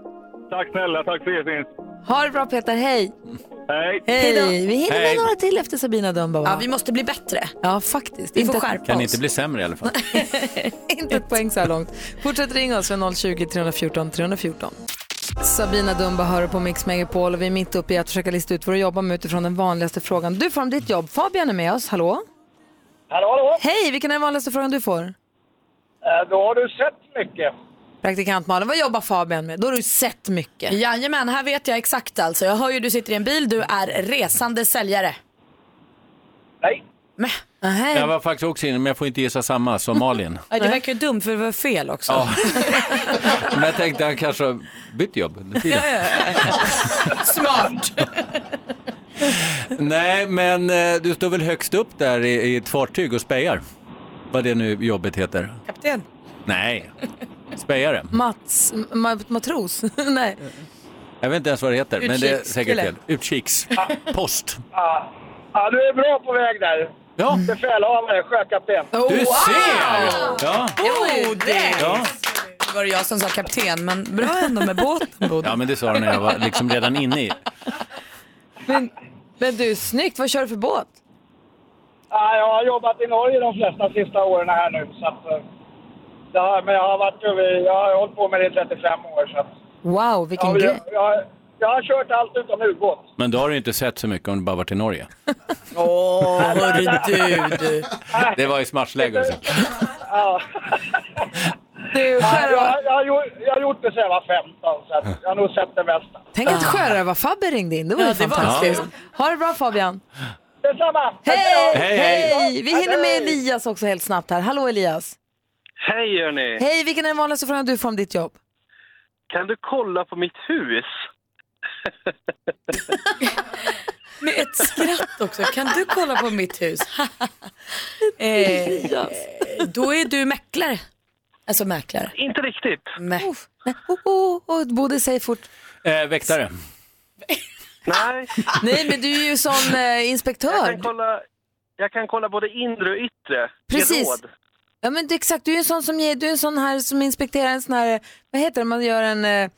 Speaker 15: Tack snälla, tack för er finns.
Speaker 1: Ha det bra Peter, hej!
Speaker 15: Hej!
Speaker 1: Hej då! Vi hinner med
Speaker 12: Hej.
Speaker 1: några till efter Sabina Dumba
Speaker 2: Ja, vi måste bli bättre.
Speaker 1: Ja, faktiskt.
Speaker 2: Vi får
Speaker 1: Inte-
Speaker 2: skärpa
Speaker 12: Kan
Speaker 2: oss.
Speaker 12: inte bli sämre i alla fall.
Speaker 1: Inte ett poäng så här långt. Fortsätt ringa oss vid 020-314 314. Sabina Dumba hör på Mix Megapol och vi är mitt uppe i att försöka lista ut vad du jobbar med utifrån den vanligaste frågan du får om ditt jobb. Fabian är med oss, hallå?
Speaker 16: Hallå, hallå!
Speaker 1: Hej, vilken är den vanligaste frågan du får?
Speaker 16: Eh, Då har du sett mycket.
Speaker 1: Praktikant Malin, vad jobbar Fabian med? Då har du sett mycket.
Speaker 2: Jajamän, här vet jag exakt alltså. Jag hör ju du sitter i en bil, du är resande säljare.
Speaker 12: Jag var faktiskt också inne, men jag får inte gissa samma som Malin.
Speaker 2: Ja, det verkar ju dumt för det var fel också.
Speaker 12: Ja. Men jag tänkte han kanske har bytt jobb under tiden.
Speaker 2: Smart!
Speaker 12: Nej, men eh, du står väl högst upp där i, i ett fartyg och spejar? Vad det nu jobbet heter.
Speaker 2: Kapten.
Speaker 12: Nej, spejare.
Speaker 1: Mats, ma matros? Nej.
Speaker 12: Jag vet inte ens vad det heter, men det är säkert
Speaker 1: Utkikskille.
Speaker 12: fel. Utkiks. Post.
Speaker 16: Ja. ja, du är bra på väg där.
Speaker 12: Ja.
Speaker 16: Befälhavare, sjökapten.
Speaker 12: Du ser! Ja.
Speaker 2: Oh, det
Speaker 12: Ja.
Speaker 2: var det jag som sa kapten, men bra ändå med båten.
Speaker 12: ja, men det sa du när jag var liksom redan inne i.
Speaker 1: Men, men du, snyggt. Vad kör du för båt?
Speaker 16: Ja, jag har jobbat i Norge de flesta sista åren här nu. Så att, eh, det har, men jag har, varit, över- jag har hållit på med det i 35 år. Så att,
Speaker 1: Wow, vilken
Speaker 16: jag, jag,
Speaker 1: grej.
Speaker 16: jag, jag har kört allt utom ubåt.
Speaker 12: Men då har du inte sett så mycket om du bara varit i Norge.
Speaker 2: Åh, hörru du, du.
Speaker 12: Det var i smartläge också.
Speaker 16: Ja.
Speaker 1: Du,
Speaker 16: ja, jag, jag, har gjort- jag har gjort det sedan jag var 15, så att jag har nog sett det mesta.
Speaker 1: Tänk att sjörövar-Fabbe ringde in. Det var ju
Speaker 16: Ja, det var
Speaker 1: fantastiskt.
Speaker 16: kul.
Speaker 1: Ha det bra Fabian.
Speaker 16: Det detsamma!
Speaker 1: Hej!
Speaker 17: Hej, hej.
Speaker 1: Vi hinner med Elias också helt snabbt här. Hallå Elias!
Speaker 17: Hej hörni!
Speaker 1: Hej, vilken är den vanligaste frågan du får om ditt jobb?
Speaker 17: Kan du kolla på mitt hus?
Speaker 2: Med ett skratt också. Kan du kolla på mitt hus? eh, då är du mäklare. Alltså mäklare.
Speaker 17: Inte riktigt.
Speaker 2: Mä-
Speaker 1: Oh, oh, oh, Bodil, säg fort.
Speaker 12: Eh, väktare.
Speaker 17: Nej.
Speaker 1: Nej, men du är ju sån eh,
Speaker 17: Jag
Speaker 1: inspektör.
Speaker 17: kan kolla, jag kan kolla både inre och yttre. Ge
Speaker 1: Precis.
Speaker 17: råd.
Speaker 1: Ja, men du, exakt, du är en sån som ger, du är en sån här som inspekterar en sån här, eh, vad heter det, man gör en, eh,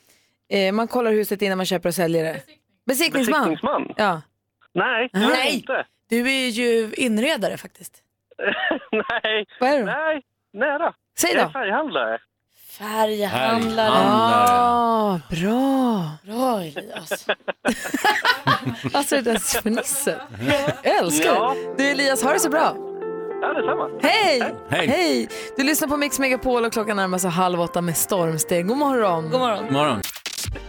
Speaker 1: eh, man kollar huset innan man köper och säljer det. Besiktningsman.
Speaker 17: Besiktningsman.
Speaker 1: Ja.
Speaker 17: Nej, det är jag inte.
Speaker 2: Du är ju inredare faktiskt.
Speaker 17: Nej.
Speaker 1: Vad är du?
Speaker 17: Nej, nära.
Speaker 1: Säg
Speaker 17: Jag är
Speaker 1: då.
Speaker 17: färghandlare.
Speaker 2: Färghandlare.
Speaker 1: Ah, bra.
Speaker 2: Bra Elias.
Speaker 1: Alltså det där fnisset. Jag älskar
Speaker 17: Ja.
Speaker 1: det. Du Elias, ha det så bra.
Speaker 17: Ja, detsamma.
Speaker 1: Hej!
Speaker 12: Hej.
Speaker 1: Du lyssnar på Mix Megapol och klockan närmar sig halv åtta med stormsteg. God morgon. God
Speaker 2: morgon.
Speaker 12: Morgon.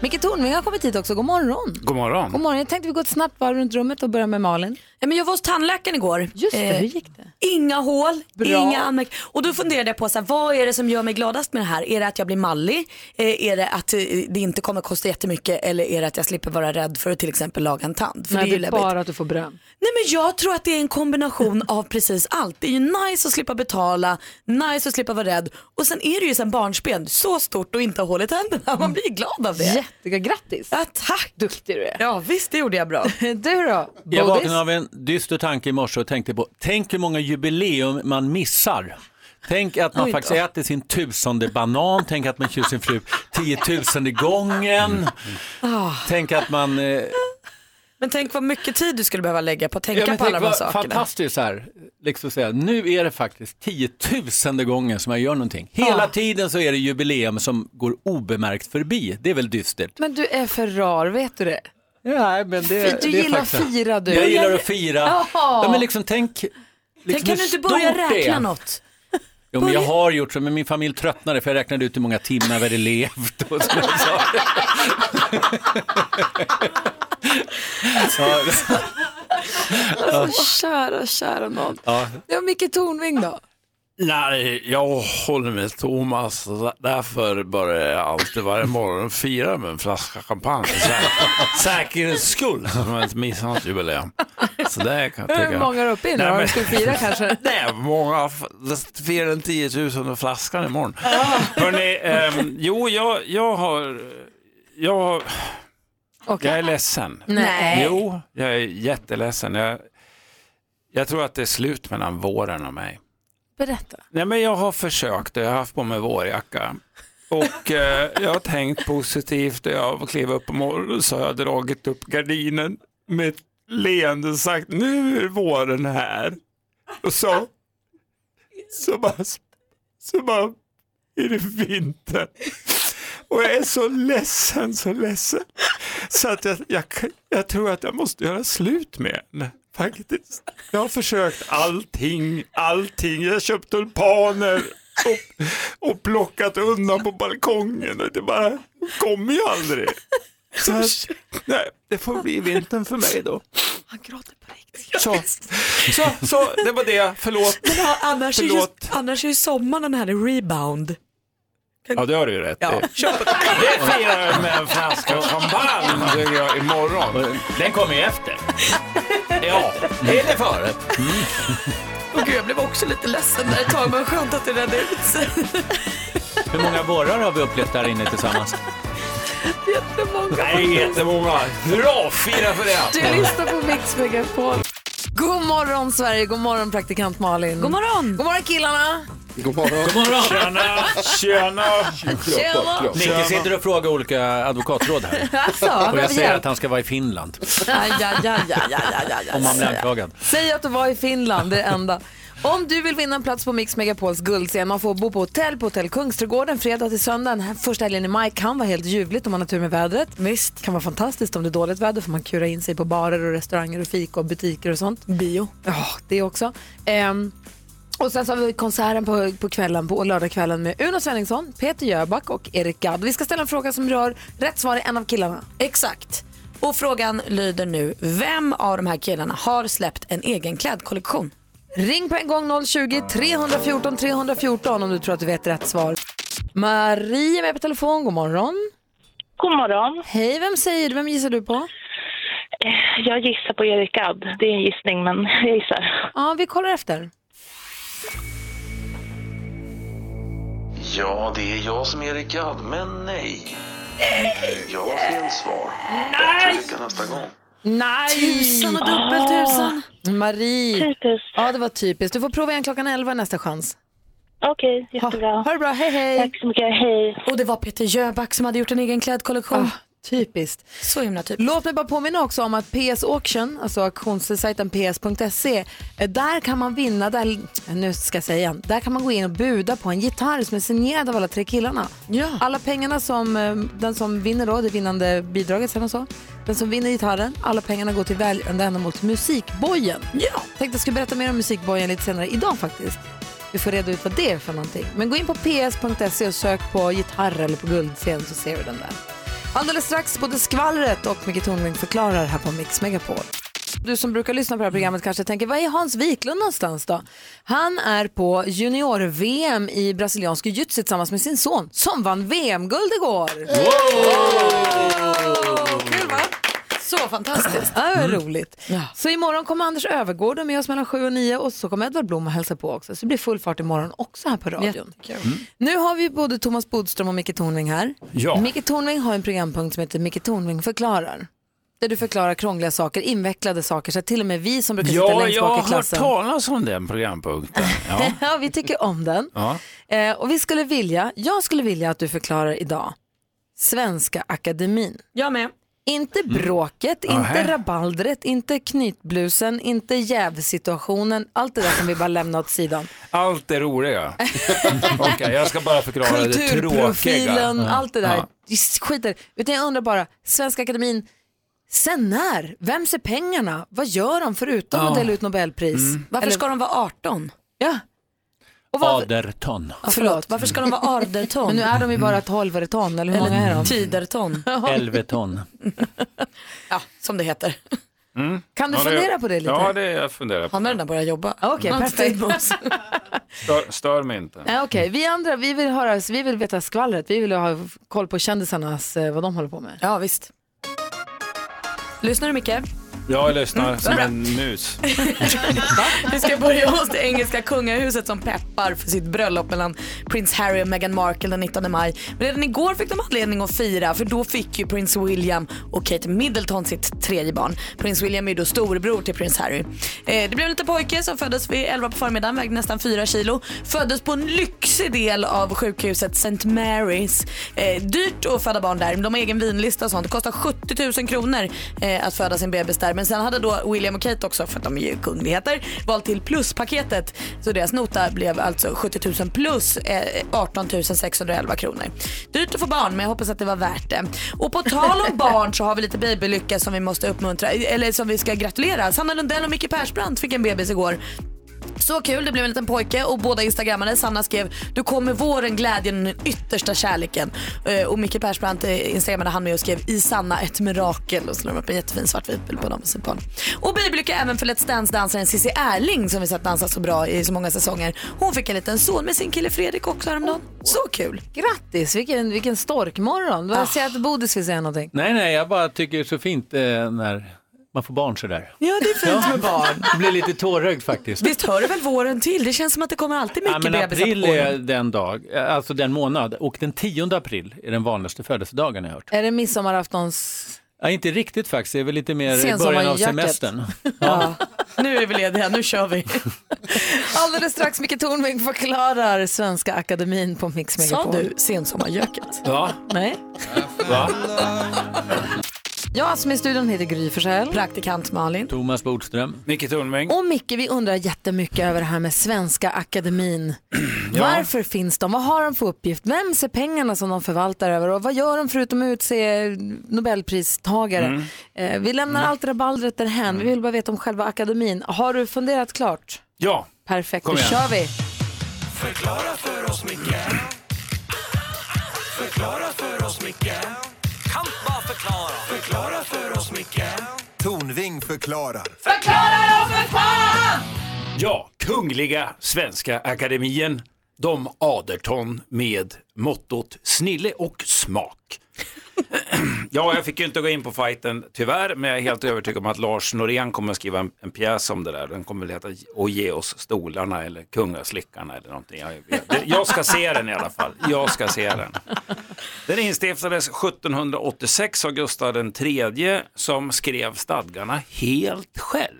Speaker 1: Micke Tornving har kommit hit också. God
Speaker 12: Mm.
Speaker 1: morgon.
Speaker 18: God morgon.
Speaker 1: God morgon. Jag tänkte vi går ett snabbt varv runt rummet och börjar med Malin.
Speaker 2: Ja, men jag var hos tandläkaren igår.
Speaker 1: Just det,
Speaker 2: Eh,
Speaker 1: hur gick det?
Speaker 2: Inga hål,
Speaker 1: Bra.
Speaker 2: inga anmärk- Och då funderade jag på så här, vad är det som gör mig gladast med det här? Är det att jag blir mallig? Eh, är det att eh, det inte kommer kosta jättemycket? Eller är det att jag slipper vara rädd för att till exempel laga en tand? För
Speaker 1: Nej,
Speaker 2: det är ju läbbigt.
Speaker 1: bara att du får brön.
Speaker 2: Nej men jag tror att det är en kombination av precis allt. Det är ju nice att slippa betala, nice att slippa vara rädd och sen är det ju sen barnsben så stort och inte ha hål i tänderna. Man blir glad av det.
Speaker 1: Jättega, grattis.
Speaker 2: Ja, tack.
Speaker 1: Duktig du är.
Speaker 2: Ja visst det gjorde jag bra.
Speaker 1: du då?
Speaker 12: Jag
Speaker 1: Bodis?
Speaker 12: vaknade av en dyster tanke i morse och tänkte på, tänk hur många jubileum man missar. Tänk att
Speaker 17: Oj
Speaker 12: man
Speaker 17: då.
Speaker 12: faktiskt äter sin tusende banan, tänk att man kysser sin fru tiotusende gången.
Speaker 2: Ah.
Speaker 12: Tänk att man... Eh,
Speaker 2: Men tänk vad mycket tid du skulle behöva lägga på att tänka
Speaker 12: ja, men
Speaker 2: på alla
Speaker 12: tänk
Speaker 2: de här
Speaker 12: vad
Speaker 2: sakerna.
Speaker 12: fantastiskt så här, liksom så här, nu är det faktiskt tiotusende gången som jag gör någonting. Hela tiden så är det jubileum som går obemärkt förbi, det är väl dystert.
Speaker 1: Men du är för rar, vet du det?
Speaker 12: Nej, men det-
Speaker 1: du
Speaker 12: det är
Speaker 1: gillar att
Speaker 12: fakta.
Speaker 1: fira du.
Speaker 12: Jag gillar att fira.
Speaker 1: Ja.
Speaker 12: Ja, men liksom tänk... Liksom
Speaker 2: Tänk kan
Speaker 12: hur
Speaker 2: du inte börja
Speaker 12: stort det är.
Speaker 2: räkna något?
Speaker 12: Jo, men jag har gjort så, men min familj tröttnade för jag räknade ut hur många timmar vi hade levt och sådana saker. ja,
Speaker 1: Alltså kära, kära nån.
Speaker 18: Ja.
Speaker 1: Det var Micke Tornving då.
Speaker 18: Nej, jag håller med Thomas. Därför börjar jag alltid varje morgon fira med en flaska champagne. Sä- Säkerhets skull, så man inte missar något jubileum. Så det kan jag tycka.
Speaker 1: Hur många är uppe i nu då?
Speaker 18: Nej,
Speaker 1: Har
Speaker 18: men-
Speaker 1: de skulle fira kanske?
Speaker 18: Nej, många. Firar den 10 000 flaskan imorgon. Hörrni, ehm, jo, jag, jag har... Jag, har- jag är ledsen.
Speaker 1: Nej.
Speaker 18: Jo, jag är jätteledsen. Jag, jag tror att det är slut mellan våren och mig.
Speaker 1: Berätta.
Speaker 18: Nej, men jag har försökt och jag har haft på mig vårjacka. Och eh, jag har tänkt positivt och jag klev upp på morgonen så har jag dragit upp gardinen med ett leende och sagt nu är våren här. Och så, så bara, så bara är det vinter. Och jag är så ledsen, så ledsen. Så att jag, jag, jag tror att jag måste göra slut med henne. Faktiskt. Jag har försökt allting, allting. Jag har köpt tulpaner och, och plockat undan på balkongen. Och det bara kommer ju aldrig. Så att, nej, det får bli vintern för mig då.
Speaker 2: Han gråter på
Speaker 18: riktigt. Så, så, så det var det. Förlåt.
Speaker 2: Men ja, annars, är ju,
Speaker 18: Förlåt.
Speaker 2: annars är ju sommaren här rebound.
Speaker 18: Ja, det har du ju rätt
Speaker 2: Ja,
Speaker 18: i. Det firar jag med en flaska champagne tycker jag, imorgon. Den kommer ju efter. Ja, det är det före.
Speaker 2: Mm. Och gud, jag blev också lite ledsen där ett tag, men skönt att det redde ut sig.
Speaker 12: hur många vårar har vi upplevt där inne tillsammans?
Speaker 2: Jättemånga.
Speaker 18: Nej, jättemånga. Bra, fira för det.
Speaker 1: Du lyssnar på Mix Megapol. God morgon Sverige, god morgon praktikant Malin. God morgon. God morgon killarna.
Speaker 9: God morgon.
Speaker 12: God morgon.
Speaker 18: Tjena, tjena.
Speaker 1: Tjena.
Speaker 12: Nicke sitter och frågar olika advokatråd här.
Speaker 1: Alltså, han
Speaker 12: och jag
Speaker 1: behöver
Speaker 12: säger
Speaker 1: hjälp.
Speaker 12: att han ska vara i Finland,
Speaker 1: Aj, aj, aj, aj, aj, aj, aj.
Speaker 12: om han blir anklagad.
Speaker 1: Säg att du var i Finland, det är det enda. Om du vill vinna en plats på Mix Megapols guldscen, man får bo på hotell på Hotell Kungsträdgården fredag till söndag. Den här Första helgen i maj kan vara helt ljuvligt om man har tur med vädret.
Speaker 2: Visst.
Speaker 1: kan vara fantastiskt om det är dåligt väder för man kurar in sig på barer och restauranger och fika och butiker och sånt.
Speaker 2: Bio.
Speaker 1: Ja, det också. Ehm, och sen så har vi konserten på, på kvällen, på lördagskvällen med Uno Svenningsson, Peter Jöback och Erik Gadd. Vi ska ställa en fråga som rör rätt svar i en av killarna.
Speaker 2: Exakt. Och frågan lyder nu, vem av de här killarna har släppt en egen klädkollektion?
Speaker 1: Ring på en gång 020-314 314 om du tror att du vet rätt svar. Marie är med på telefon. God morgon.
Speaker 6: God morgon. Eh,
Speaker 1: Hej, vem säger du? Vem gissar du på?
Speaker 6: Jag gissar på Erik Gadd. Det är en gissning, men jag gissar.
Speaker 1: Ja, vi kollar efter.
Speaker 19: Ja, det är jag som är Erik Gadd, men nej. Jag har fel svar.
Speaker 1: Nej!
Speaker 19: Bättre lycka nästa gång.
Speaker 1: Nej!
Speaker 19: Tusan och dubbelt
Speaker 6: tusan.
Speaker 1: Marie. Ja, det var typiskt. Du får prova igen klockan 11 nästa chans.
Speaker 6: Okej, jättebra.
Speaker 1: Ha, ha det bra, hej hej.
Speaker 6: Tack så mycket, hej.
Speaker 2: Och det var Peter Jöback som hade gjort en egen klädkollektion.
Speaker 1: Ah, typiskt.
Speaker 2: Så himla typiskt.
Speaker 1: Låt mig bara påminna också om att PS Auction, alltså auktionssajten ps.se, eh, där kan man vinna, där, eh, nu ska jag säga igen, där kan man gå in och buda på en gitarr som är signerad av alla tre killarna. Alla pengarna som, eh, den som vinner då, det vinnande bidraget sen och så, den som vinner gitarren, alla pengarna går till välgörande ändamål till Musikbojen. Ja. Tänkte jag skulle berätta mer om Musikbojen lite senare idag faktiskt. Vi får reda ut vad det är för någonting. Men gå in på ps.se och sök på gitarr eller på guldscen så ser du den där. Alldeles strax både skvallret och Micke Tornving förklarar här på Mix Megapol. Du som brukar lyssna på det här programmet kanske tänker, var är Hans Wiklund någonstans då? Han är på junior-VM i brasiliansk jiu-jitsu tillsammans med sin son som vann VM-guld igår.
Speaker 2: Så fantastiskt.
Speaker 1: Ja, det var roligt. Så imorgon kommer Anders Övergård och med oss mellan 7 och 9 och så kommer Edvard Blom och hälsa på också. Så det blir full fart imorgon också här på radion.
Speaker 2: Mm.
Speaker 1: Nu har vi både Thomas Bodström och Micke Tornving här.
Speaker 20: Ja.
Speaker 1: Micke Tornving har en programpunkt som heter Micke Tornving förklarar. Där du förklarar krångliga saker, invecklade saker, så att till och med vi som brukar sitta
Speaker 12: Ja,
Speaker 1: längst
Speaker 12: jag har
Speaker 1: bak i
Speaker 12: hört
Speaker 1: klassen.
Speaker 12: talas om den programpunkten. Ja.
Speaker 1: ja, vi tycker om den.
Speaker 12: Ja.
Speaker 1: Eh, och vi skulle vilja, jag skulle vilja att du förklarar idag Svenska Akademin.
Speaker 2: Jag med.
Speaker 1: Inte bråket,
Speaker 2: Mm.
Speaker 1: inte
Speaker 2: Nähä.
Speaker 1: rabaldret, inte knytblusen, inte jävsituationen. Allt det där kan vi bara lämna åt sidan.
Speaker 18: Allt det roliga. Okej, jag ska bara förklara det tråkiga.
Speaker 1: Kulturprofilen,
Speaker 18: Ja.
Speaker 1: allt det där.
Speaker 18: Ja.
Speaker 1: Skit i det. Utan jag undrar bara, Svenska Akademin, sen när? Vems är pengarna? Vad gör de förutom
Speaker 12: Ja.
Speaker 1: att dela ut Nobelpris?
Speaker 12: Mm.
Speaker 2: Varför ska de vara 18?
Speaker 1: Ja.
Speaker 12: Aderton.
Speaker 1: Ja, förlåt.
Speaker 2: Varför ska de vara arderton?
Speaker 1: Men nu är de ju bara tolvereton, eller hur många är de?
Speaker 2: Tiderton.
Speaker 12: Elveton.
Speaker 2: Ja, som det heter.
Speaker 18: Mm.
Speaker 2: Kan du
Speaker 18: Ja, det-
Speaker 2: fundera på det lite?
Speaker 18: Ja, det jag funderar på.
Speaker 2: Han har redan börjat jobba.
Speaker 1: Ah, Okej,
Speaker 2: Han har inte
Speaker 1: perfekt.
Speaker 2: tid med oss.
Speaker 18: Stör, stör mig inte.
Speaker 1: Ja, Okej, vi andra vi vill, höra, vi vill veta skvallret. Vi vill ha koll på kändisarnas, eh, vad de håller på med.
Speaker 2: Ja, visst. Lyssnar du mycket?
Speaker 18: Jag
Speaker 1: Mm.
Speaker 18: lyssnar som
Speaker 2: bra.
Speaker 18: en mus.
Speaker 2: Vi ska börja hos det engelska kungahuset som peppar för sitt bröllop mellan prins Harry och Meghan Markle den 19 maj. Men redan igår fick de anledning att fira för då fick ju prins William och Kate Middleton sitt tredje barn. Prins William är ju då storebror till prins Harry. Eh, det blev en liten pojke som föddes vid 11 på förmiddagen, vägde nästan 4 kilo. Föddes på en lyxig del av sjukhuset St. Mary's. Eh, dyrt att föda barn där, de har egen vinlista och sånt. Det kostar 70 000 kronor eh, att föda sin bebis där. Men sen hade då William och Kate också, för att de är ju kungligheter, valt till pluspaketet. Så deras nota blev alltså 70 000 plus eh, 18 611 kronor. Dyrt att få barn men jag hoppas att det var värt det. Och på tal om barn så har vi lite babylycka som vi måste uppmuntra, eller som vi ska gratulera. Sanna Lundell och Micke Persbrandt fick en bebis igår. Så kul, det blev en liten pojke och båda instagrammade. Sanna skrev “Du kommer våren, glädjen, den yttersta kärleken”. Eh, Och Micke Persbrandt eh, instagrammade han med och skrev “I Sanna, ett mirakel” och så la de upp en jättefin svartvit bild på dem och sitt barn. Och babylycka även för Let's Dance-dansaren Cissi Erling som vi sett dansa så bra i så många säsonger. Hon fick en liten son med sin kille Fredrik också häromdagen. Så kul!
Speaker 1: Grattis, vilken, vilken storkmorgon.
Speaker 2: Ah.
Speaker 1: Vad säger att Bodis vill säga någonting?
Speaker 12: Nej, nej, jag bara tycker det är så fint eh, när man får barn sådär.
Speaker 2: Ja, det är fint med barn.
Speaker 12: Jag blir lite tårögd faktiskt.
Speaker 2: Visst hör det väl våren till? Det känns som att det kommer alltid
Speaker 12: Ja,
Speaker 2: mycket
Speaker 12: men
Speaker 2: bebisar
Speaker 12: april
Speaker 2: på våren.
Speaker 12: är den dag, eh, alltså den månad och den 10 april är den vanligaste födelsedagen jag hört.
Speaker 1: Är det midsommaraftons...
Speaker 12: Ja, inte riktigt faktiskt, det är väl lite mer i början av
Speaker 1: Sensommarjacket.
Speaker 12: semestern.
Speaker 2: Nu är vi lediga, nu kör vi.
Speaker 1: Alldeles strax Micke Tornving förklarar Svenska Akademin på Mix
Speaker 2: Sa
Speaker 1: Megapol.
Speaker 2: du sensommarjöket?
Speaker 12: Ja.
Speaker 1: Nej.
Speaker 12: Va?
Speaker 1: Jag som är i studion heter Gry Forssell.
Speaker 2: Praktikant Malin.
Speaker 12: Thomas Bodström.
Speaker 18: Micke Tornving.
Speaker 1: Och Micke, vi undrar jättemycket över det här med Svenska Akademin.
Speaker 18: Ja.
Speaker 1: Varför finns de? Vad har de för uppgift? Vem ser pengarna som de förvaltar över? Och vad gör de förutom att utse Nobelpristagare?
Speaker 10: Mm.
Speaker 1: Eh, vi lämnar allt rabaldret därhän. Vi vill bara veta om själva akademin. Har du funderat klart?
Speaker 18: Ja.
Speaker 1: Perfekt,
Speaker 18: Kom
Speaker 1: då
Speaker 18: igen.
Speaker 1: kör vi.
Speaker 19: Förklara för oss, Micke. Förklara för oss, Micke. Kan bara förklara. Förklara för oss, Micke.
Speaker 21: Tornving förklarar.
Speaker 19: Förklara då för fan!
Speaker 18: Ja, Kungliga Svenska Akademien, de Aderton med mottot snille och smak. ja, jag fick ju inte gå in på fighten tyvärr, men jag är helt övertygad om att Lars Norén kommer att skriva en, en pjäs om det där. Den kommer väl heta Och ge oss stolarna eller Kungaslickarna eller någonting. Jag, jag, jag ska se den i alla fall. Jag ska se den. Den instiftades 1786 av Gustav III som skrev stadgarna helt själv.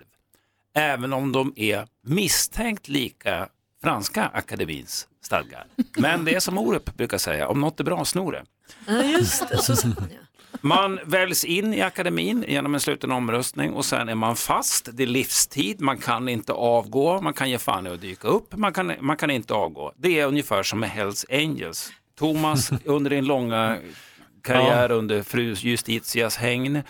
Speaker 18: Även om de är misstänkt lika Franska akademins stadgar. Men det är som Orup brukar säga, om något är bra, snor det.
Speaker 2: Ja, just det. Så sa han ja.
Speaker 18: Man väljs in i akademin genom en sluten omröstning och sen är man fast. Det är livstid, man kan inte avgå, man kan ge fan i att dyka upp, man kan, man kan inte avgå. Det är ungefär som med Hells Angels. Thomas, under din långa karriär under fru Justitias hägn,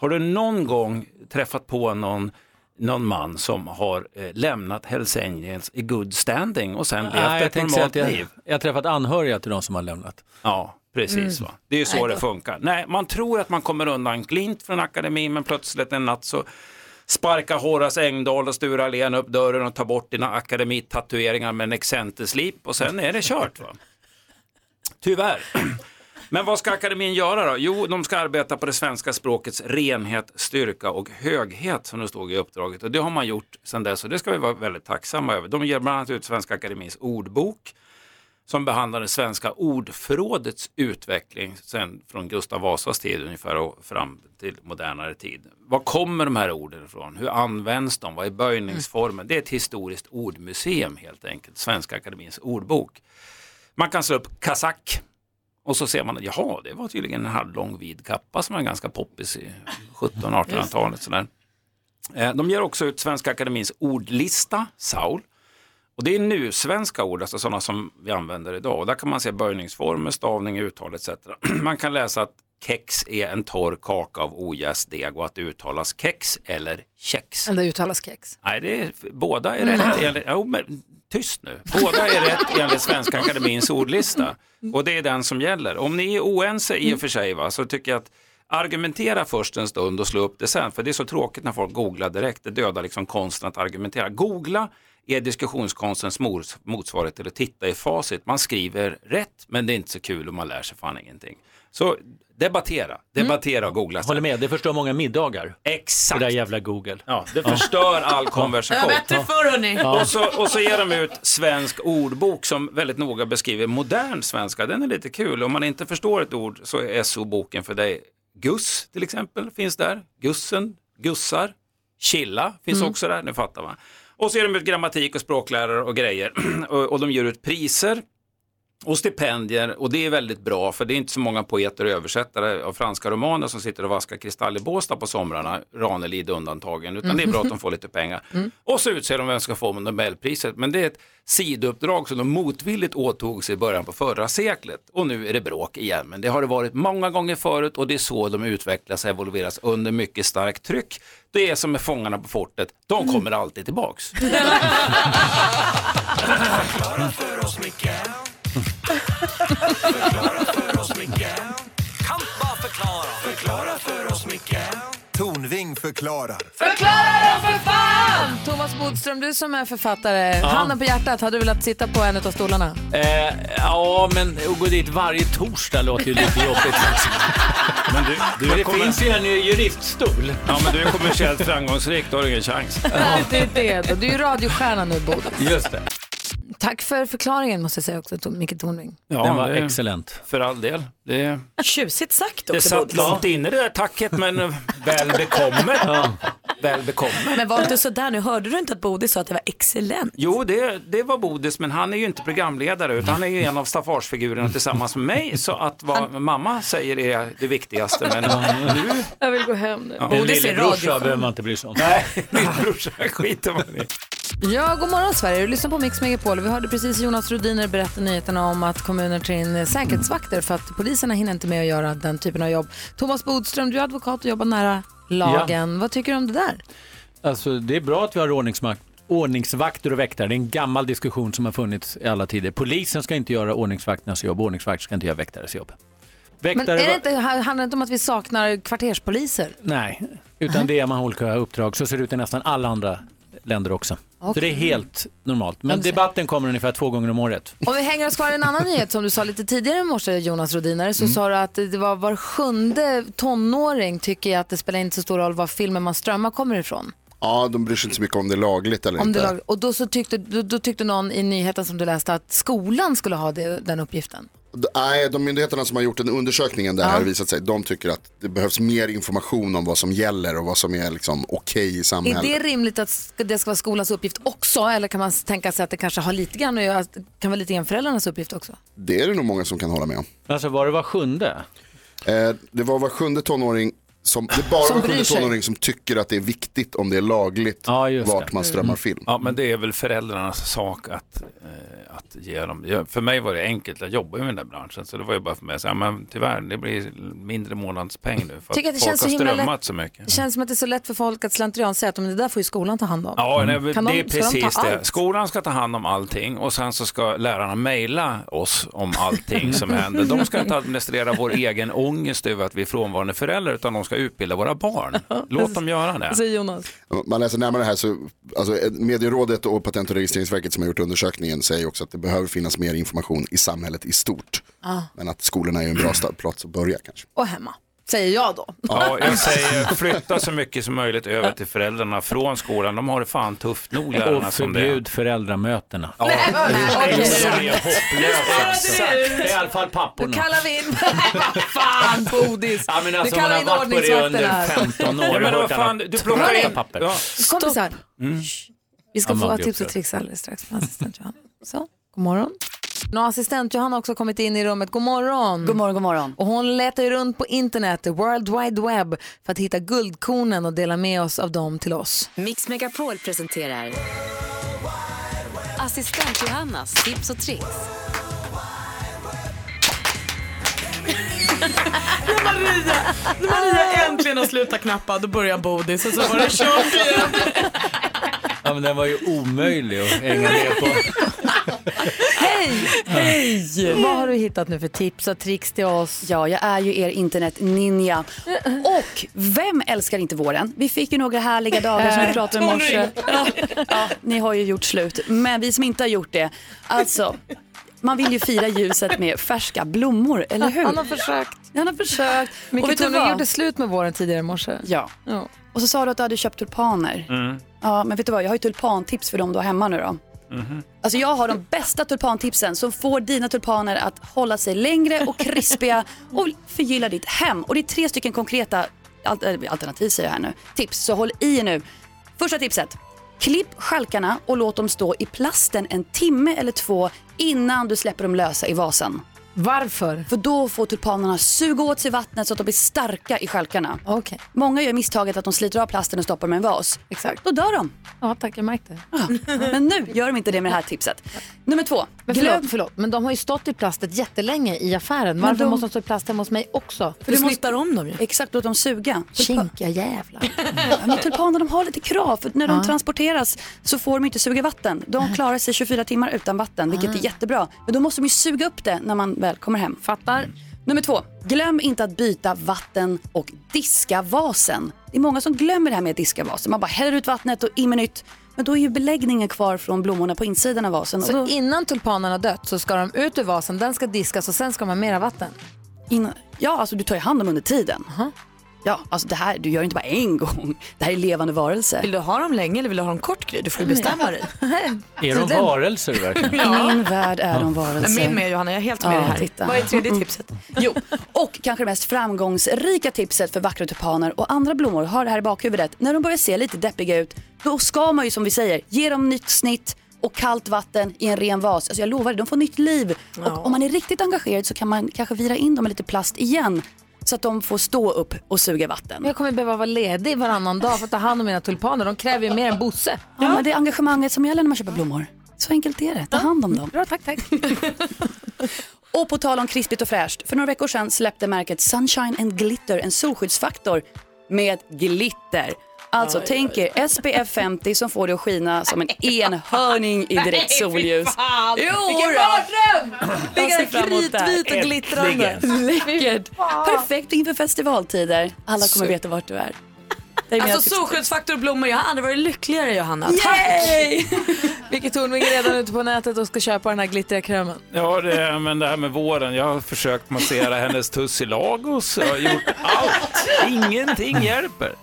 Speaker 18: har du någon gång träffat på någon någon man som har eh, lämnat Hells Angels i good standing och sen
Speaker 12: Nej,
Speaker 18: levt
Speaker 12: jag
Speaker 18: ett
Speaker 12: tänkte säga
Speaker 18: normalt
Speaker 12: att jag,
Speaker 18: liv.
Speaker 12: jag har träffat anhöriga till de som har lämnat.
Speaker 18: Ja, Precis, va? det är ju så det funkar. Nej, man tror att man kommer undan klint från akademin men plötsligt en natt så sparkar Horace Engdahl och Sture Allén upp dörren och tar bort dina akademitatueringar med en excenterslip och sen är det kört. Va? Tyvärr. Men vad ska akademin göra då? Jo, de ska arbeta på det svenska språkets renhet, styrka och höghet som det stod i uppdraget. Och det har man gjort sedan dess och det ska vi vara väldigt tacksamma över. De ger bland annat ut Svenska Akademins ordbok som behandlar det svenska ordförrådets utveckling sen från Gustav Vasas tid ungefär och fram till modernare tid. Var kommer de här orden ifrån? Hur används de? Vad är böjningsformen? Det är ett historiskt ordmuseum helt enkelt, Svenska Akademins ordbok. Man kan slå upp kasak och så ser man att jaha, det var tydligen en halvlång vid kappa som var ganska poppis i 1700-1800-talet. sådär. Eh, De ger också ut Svenska Akademins ordlista, Saul. Och det är nu svenska ord, alltså sådana som vi använder idag. Och där kan man se böjningsformer, stavning, uttal etc. Man kan läsa att kex är en torr kaka av ojäst deg och att det uttalas kex eller kex.
Speaker 1: Eller uttalas kex.
Speaker 18: Nej, det är, båda är rätt. Enligt, jo, men, tyst nu. Båda är rätt enligt Svenska Akademins ordlista. Och det är den som gäller. Om ni är oense i och för sig, va, så tycker jag att argumentera först en stund och slå upp det sen. För det är så tråkigt när folk googlar direkt. Det dödar liksom konsten att argumentera. Googla är diskussionskonstens mors- motsvarighet till att titta i facit. Man skriver rätt, men det är inte så kul och man lär sig fan ingenting. Så debattera, debattera och googla. Håller
Speaker 12: med, det förstör många middagar.
Speaker 18: Exakt.
Speaker 12: Det där jävla Google.
Speaker 18: Ja, det förstör all konversation.
Speaker 2: förr hörni.
Speaker 12: Ja.
Speaker 18: Och, så, och så ger de ut Svensk ordbok som väldigt noga beskriver modern svenska. Den är lite kul. Om man inte förstår ett ord så är SO-boken för dig. Guss till exempel finns där. Gussen, gussar, killa finns
Speaker 12: Mm.
Speaker 18: också där. Nu fattar man. Och så ger de ut grammatik och språklärare och grejer. och, och de ger ut priser och stipendier och det är väldigt bra för det är inte så många poeter och översättare av franska romaner som sitter och vaskar kristall i Båstad på somrarna, Ranelid undantagen, utan det är bra att de får lite pengar. Och så utser de vem som ska få Nobelpriset, men det är ett sidouppdrag som de motvilligt åtog sig i början på förra seklet. Och nu är det bråk igen, men det har det varit många gånger förut och det är så de utvecklas och evolveras under mycket starkt tryck. Det är som med Fångarna på fortet, de kommer alltid tillbaks.
Speaker 19: Förklara för oss, Micke. Förklara för oss, Micke. Kan bara förklara. Förklara för oss, Micke.
Speaker 21: Tornving förklarar.
Speaker 19: Förklara då för fan!
Speaker 1: Ah! Thomas Bodström, du som är författare,
Speaker 12: Ja.
Speaker 1: handen på hjärtat, hade du velat sitta på en av stolarna?
Speaker 12: Eh, ja, men att gå dit varje torsdag låter ju lite jobbigt.
Speaker 18: Men
Speaker 12: du, det finns ju en juriststol.
Speaker 18: Ja, men du är kommersiellt framgångsrik, då har du ingen chans.
Speaker 1: Nej, det är det då. Du är ju radiostjärna nu, Bodström.
Speaker 18: Just det.
Speaker 1: Tack för förklaringen måste jag säga också, Tom- Micke Tornving.
Speaker 12: Den var
Speaker 18: excellent. För all del. Det,
Speaker 2: Tjusigt sagt
Speaker 18: det
Speaker 2: också.
Speaker 18: satt
Speaker 2: Bodis.
Speaker 18: långt inne det där tacket men väl bekommet. Väl bekommet.
Speaker 2: Men var inte sådär nu, hörde du inte att Bodil sa att det var excellent?
Speaker 18: Jo, det, det var Bodis, men han är ju inte programledare utan han är ju en av staffagefigurerna tillsammans med mig. Så att vad mamma säger är det viktigaste. Men nu...
Speaker 1: Jag vill gå hem nu.
Speaker 18: Ja.
Speaker 12: man inte bry sig om.
Speaker 18: Nej, min brorsa skiter man i.
Speaker 1: Ja, god morgon Sverige. Du lyssnar på Mix Megapol. Vi hörde precis Jonas Rhodiner berätta nyheterna om att kommuner tar in säkerhetsvakter för att poliserna hinner inte med att göra den typen av jobb. Thomas Bodström, du är advokat och jobbar nära lagen. Vad tycker du om det där?
Speaker 12: Alltså, det är bra att vi har ordningsmakt. Ordningsvakter och väktare, det är en gammal diskussion som har funnits i alla tider. Polisen ska inte göra ordningsvakternas jobb, ordningsvakter ska inte göra väktares jobb.
Speaker 1: Men
Speaker 12: Väktare
Speaker 1: är det inte,
Speaker 12: var-
Speaker 1: handlar det inte om att vi saknar kvarterspoliser?
Speaker 12: Nej, utan det är man har olika uppdrag. Så ser det ut i nästan alla andra länder också. Så
Speaker 1: Okej.
Speaker 12: det är helt normalt. Men
Speaker 1: Jag ser.
Speaker 12: debatten kommer ungefär två gånger om året.
Speaker 1: Om vi hänger oss kvar i en annan nyhet som du sa lite tidigare i morse, Jonas Rodiner, så sa du att det var var sjunde tonåring tycker att det spelar inte så stor roll var filmen man strömmar kommer ifrån.
Speaker 9: Ja, de bryr sig inte så mycket om det är lagligt eller
Speaker 1: Om
Speaker 9: inte.
Speaker 1: det lag, och då, så tyckte, då, då tyckte någon i nyheten som du läste att skolan skulle ha det, den uppgiften.
Speaker 9: D- Nej, de myndigheterna som har gjort den undersökningen där
Speaker 1: Ja.
Speaker 9: har visat sig, de tycker att det behövs mer information om vad som gäller och vad som är liksom okej i
Speaker 1: Är
Speaker 9: samhället.
Speaker 1: det rimligt att sk- det ska vara skolans uppgift också eller kan man s- tänka sig att det kanske har lite grann att göra, att det kan vara lite grann föräldrarnas uppgift också?
Speaker 9: Det är det nog många som kan hålla med om.
Speaker 12: Alltså var det var sjunde?
Speaker 9: Eh, det var var sjunde tonåring som, det är bara
Speaker 12: Som
Speaker 9: var
Speaker 12: bryr
Speaker 9: sjunde
Speaker 12: sig.
Speaker 9: tonåring som tycker att det är viktigt om det är lagligt vart
Speaker 12: Mm.
Speaker 9: man strömmar
Speaker 1: Mm.
Speaker 9: film.
Speaker 18: Ja, men det är väl föräldrarnas sak att, eh, att ge dem. Jag, för mig var det enkelt, jag jobbar ju i den där branschen, så det var ju bara för mig att säga, men tyvärr, det blir mindre månadspeng nu för
Speaker 1: Tycker att det
Speaker 18: att folk
Speaker 1: känns så
Speaker 18: har
Speaker 1: himla lätt-
Speaker 18: strömmat så mycket.
Speaker 1: Det känns som att det är så lätt för folk att slentrian säga att "Men det där får ju skolan ta hand om.
Speaker 18: Ja, nej,
Speaker 1: Kan
Speaker 18: det
Speaker 1: de-
Speaker 18: är
Speaker 1: ska de ta
Speaker 18: precis det.
Speaker 1: allt?
Speaker 18: Skolan ska ta hand om allting och sen så ska lärarna mejla oss om allting som händer. De ska inte administrera vår egen ångest över att vi är frånvarande föräldrar utan de ska utbilda våra barn. Låt dem göra
Speaker 1: Alltså,
Speaker 18: det.
Speaker 1: Jonas.
Speaker 9: Om Man läser närmare här så, alltså Medierådet och Patent och registreringsverket som har gjort undersökningen säger också att det behöver finnas mer information i samhället i stort.
Speaker 1: Ah.
Speaker 9: Men att skolorna är en bra sta- plats att börja kanske.
Speaker 1: Och hemma, säger jag då.
Speaker 18: Ja, jag säger flytta så mycket som möjligt över till föräldrarna från skolan. De har det fan tufft nog lärarna
Speaker 12: Och
Speaker 18: som det är.
Speaker 12: förbjud föräldramötena.
Speaker 18: Ja,
Speaker 12: Nej,
Speaker 18: det
Speaker 12: så
Speaker 18: är hopplöst alltså.
Speaker 12: Det är i alla fall
Speaker 1: Då
Speaker 12: papporna.
Speaker 1: kallar vi in... Fan, Bodis!
Speaker 12: Ja, men alltså,
Speaker 1: nu
Speaker 12: man
Speaker 1: kallar vi
Speaker 12: har
Speaker 1: in
Speaker 12: varit på det
Speaker 1: ordningsvakterna.
Speaker 12: under 15 år
Speaker 18: Ja,
Speaker 12: och
Speaker 18: men vad
Speaker 12: hört
Speaker 18: fan,
Speaker 12: alla
Speaker 18: du plockar
Speaker 12: tråkiga
Speaker 18: in-
Speaker 12: papper.
Speaker 18: Ja.
Speaker 1: Kompisar,
Speaker 12: Mm.
Speaker 1: vi ska
Speaker 12: Ja,
Speaker 1: få
Speaker 12: man
Speaker 1: tips och
Speaker 12: upptäcker.
Speaker 1: tricks alldeles strax från assistent Johanna. Så, god morgon. Nu har assistent Johanna också kommit in i rummet. God morgon. God
Speaker 22: morgon, god morgon.
Speaker 1: Och hon letar ju runt på internet, the world wide web, för att hitta guldkornen och dela med oss av dem till oss.
Speaker 22: Mix Megapol presenterar Assistent Johannas tips och tricks.
Speaker 10: När Maria, när Maria äntligen har slutat knappa, då börjar Bodis och så var det kört igen.
Speaker 12: Ja, men den var ju omöjlig att hänga med på.
Speaker 1: Hej! Hej! Vad har du hittat nu för tips och tricks till oss?
Speaker 22: Ja, jag är ju er internet-ninja. Och vem älskar inte våren? Vi fick ju några härliga dagar som vi pratade om i morse. Ja, ja, ni har ju gjort slut, men vi som inte har gjort det. Alltså, man vill ju fira ljuset med färska blommor, eller hur?
Speaker 1: Han har försökt.
Speaker 22: Han har försökt.
Speaker 1: Micke
Speaker 22: vet du
Speaker 1: Tornving
Speaker 22: vad?
Speaker 1: gjorde slut med våren tidigare i morse.
Speaker 22: Ja. Och så sa du att du hade köpt tulpaner.
Speaker 18: Mm.
Speaker 22: Ja, men vet du vad? Jag har ju tulpantips för dem du har hemma nu då. Alltså jag har de bästa tulpantipsen som får dina tulpaner att hålla sig längre och krispiga och förgylla ditt hem. Och det är tre stycken konkreta al- äh, alternativ säger jag här nu. Tips, så håll i er nu. Första tipset. Klipp stjälkarna och låt dem stå i plasten en timme eller två innan du släpper dem lösa i vasen.
Speaker 1: Varför?
Speaker 22: För då får tulpanerna suga åt sig vattnet så att de blir starka i stjälkarna.
Speaker 1: Okay.
Speaker 22: Många gör misstaget att de sliter av plasten och stoppar dem i en vas.
Speaker 1: Exakt.
Speaker 22: Då dör de.
Speaker 1: Ja, tack. Jag märkte.
Speaker 22: Men nu gör de inte det med det här tipset. Nummer två.
Speaker 1: Men
Speaker 22: glöm-
Speaker 1: förlåt, förlåt, men de har ju stått i plastet jättelänge i affären. Varför
Speaker 22: de-
Speaker 1: måste de stå i plast hemma hos mig också?
Speaker 22: För du snyttar om dem ju. Exakt, låt dem suga.
Speaker 1: Kinkiga jävlar.
Speaker 22: Ja, men tulpaner de har lite krav. För när de
Speaker 1: Ja.
Speaker 22: transporteras så får de inte suga vatten. De klarar sig 24 timmar utan vatten, vilket
Speaker 1: Ah.
Speaker 22: är jättebra. Men då måste de ju suga upp det när man väl kommer hem. Fattar. Nummer två. Glöm inte att byta vatten och diska vasen. Det är många som glömmer det här med att diska vasen. Man bara häller ut vattnet och in med nytt. Men då är ju beläggningen kvar från blommorna på insidan av vasen. och
Speaker 1: Så
Speaker 22: då...
Speaker 1: innan tulpanen har dött så ska de ut ur vasen, den ska diskas och sen ska man ha mera vatten.
Speaker 22: In, ja, alltså du tar ju hand om under tiden. Ja, alltså det här, du gör ju inte bara en gång. Det här är levande varelser. Vill
Speaker 2: du ha dem länge eller vill du ha dem kort Gry? Du får ju bestämma dig.
Speaker 12: Är de varelser verkligen? Mm.
Speaker 22: I min värld är de varelser.
Speaker 2: Min med Johanna, jag är helt med
Speaker 22: Ja,
Speaker 2: dig här.
Speaker 22: titta.
Speaker 2: Vad är tredje tipset?
Speaker 22: Jo, och kanske det mest framgångsrika tipset för vackra tulpaner och andra blommor, har det här i bakhuvudet. När de börjar se lite deppiga ut, då ska man ju som vi säger ge dem nytt snitt och kallt vatten i en ren vas. Alltså jag lovar, dig, de får nytt liv. Och om man är riktigt engagerad så kan man kanske vira in dem med lite plast igen så att de får stå upp och suga vatten.
Speaker 1: Jag kommer behöva vara ledig varannan dag för att ta hand om mina tulpaner. De kräver ju mer än Bosse.
Speaker 22: Ja, men det är engagemanget som gäller när man köper blommor. Så enkelt är det. Ta hand om dem.
Speaker 1: Bra, tack, tack.
Speaker 22: och på tal om krispigt och fräscht. För några veckor sedan släppte märket Sunshine and Glitter en solskyddsfaktor med glitter. Alltså tänk er SPF 50 som får dig att skina som en enhörning i direkt solljus. Jo,
Speaker 1: Vilken
Speaker 22: då.
Speaker 1: mardröm!
Speaker 22: Jag ser fram emot det här. Läckert. Perfekt inför festivaltider. Alla kommer
Speaker 2: Super.
Speaker 22: veta vart du är. Det är mina
Speaker 2: Alltså
Speaker 22: tips.
Speaker 2: solskyddsfaktor och blommor, jag har aldrig varit lyckligare Johanna.
Speaker 1: Vilket Tornving är redan ute på nätet och ska köpa den här glittriga krämen.
Speaker 18: Ja, det, men det här med våren. Jag har försökt massera hennes tussilagos. Jag har gjort allt. Ingenting hjälper.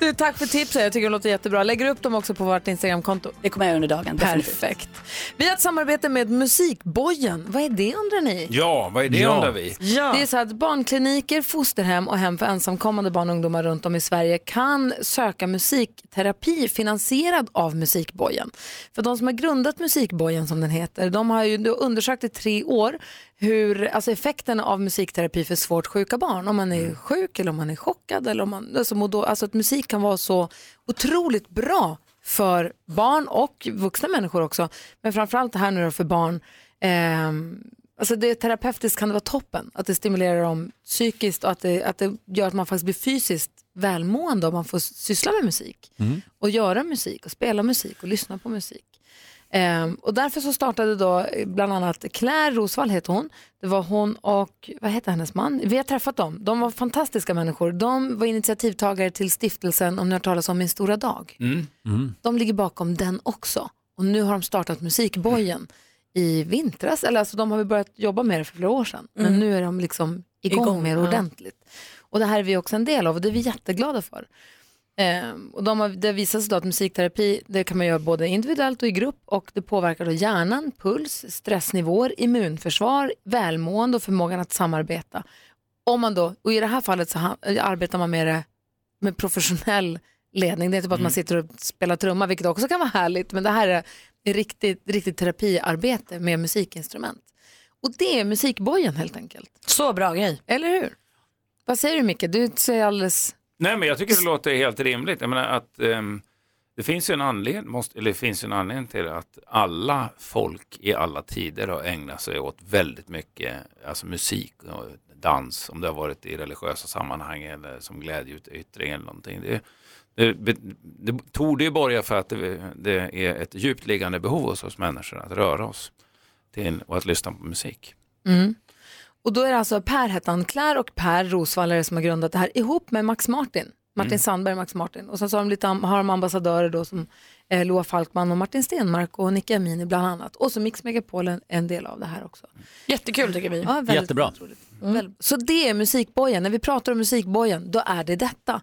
Speaker 1: Du, tack för tipsen. Jag tycker det låter jättebra. Lägger du upp dem också på vårt Instagramkonto?
Speaker 22: Det kommer jag under dagen.
Speaker 1: Perfekt. Vi har ett samarbete med Musikbojen. Vad är det undrar ni?
Speaker 18: Ja, vad är det
Speaker 1: Ja.
Speaker 18: undrar vi?
Speaker 1: Det är så att barnkliniker, fosterhem och hem för ensamkommande barn och ungdomar runt om i Sverige kan söka musikterapi finansierad av Musikbojen. För de som har grundat Musikbojen som den heter, de har ju då undersökt i tre år hur, alltså effekten av musikterapi för svårt sjuka barn, om man
Speaker 18: Mm.
Speaker 1: är sjuk eller om man är chockad eller om man, alltså, mår då, alltså att musik kan vara så otroligt bra för barn och vuxna människor också, men framförallt här nu då för barn Ehm, alltså det terapeutiskt kan det vara toppen, att det stimulerar dem psykiskt och att det, att det gör att man faktiskt blir fysiskt välmående om man får syssla med musik
Speaker 18: Mm.
Speaker 1: och göra musik och spela musik och lyssna på musik. Ehm, och därför så startade då eh, bland annat Claire Rosvall heter hon. Det var hon och, vad heter hennes man? Vi har träffat dem. De var fantastiska människor. De var initiativtagare till stiftelsen, om ni har hört talas om Min stora dag.
Speaker 18: Mm.
Speaker 1: De ligger bakom den också. Och nu har de startat Musikbojen i vintras. Eller alltså de har väl börjat jobba med det för flera år sedan. Men
Speaker 2: Mm.
Speaker 1: nu är de liksom igång,
Speaker 2: Igång,
Speaker 1: mer
Speaker 2: ja.
Speaker 1: ordentligt. Och det här är vi också en del av och det är vi jätteglada för. Ehm, och de har, det visar sig då att musikterapi det kan man göra både individuellt och i grupp och det påverkar då hjärnan, puls, stressnivåer, immunförsvar, välmående och förmågan att samarbeta. Om man då, och i det här fallet så ha- arbetar man med det med professionell ledning. Det är inte bara
Speaker 2: Mm.
Speaker 1: att man sitter och spelar trumma, vilket också kan vara härligt, men det här är ett riktigt, riktigt terapiarbete med musikinstrument. Och det är musikbojen helt enkelt.
Speaker 2: Så bra grej.
Speaker 1: Eller hur? Vad säger du Micke? Du säger alldeles...
Speaker 18: Nej, men jag tycker det låter helt rimligt. Jag menar att ehm, det finns ju en anledning, måste, eller det finns ju en anledning till att alla folk i alla tider har ägnat sig åt väldigt mycket alltså musik och dans, om det har varit i religiösa sammanhang eller som glädjeyttring eller någonting. Det, det, be- det torde ju borga för att det, det är ett djupt liggande behov hos oss människor att röra oss till, och att lyssna på musik.
Speaker 1: Mm. Och då är det alltså Per hette han, Claire och Per Rosvallare som har grundat det här ihop med Max Martin. Martin
Speaker 10: Mm.
Speaker 1: Sandberg och Max Martin. Och sen så har de, lite, am- har de ambassadörer då som eh, Loa Falkman och Martin Stenmark och Nicke Amini bland annat. Och så Mix Megapol är en del av det här också.
Speaker 2: Jättekul tycker vi.
Speaker 1: Ja, väldigt
Speaker 12: Jättebra.
Speaker 1: Väl- Mm. Så det är musikbojen. När vi pratar om musikbojen, då är det detta.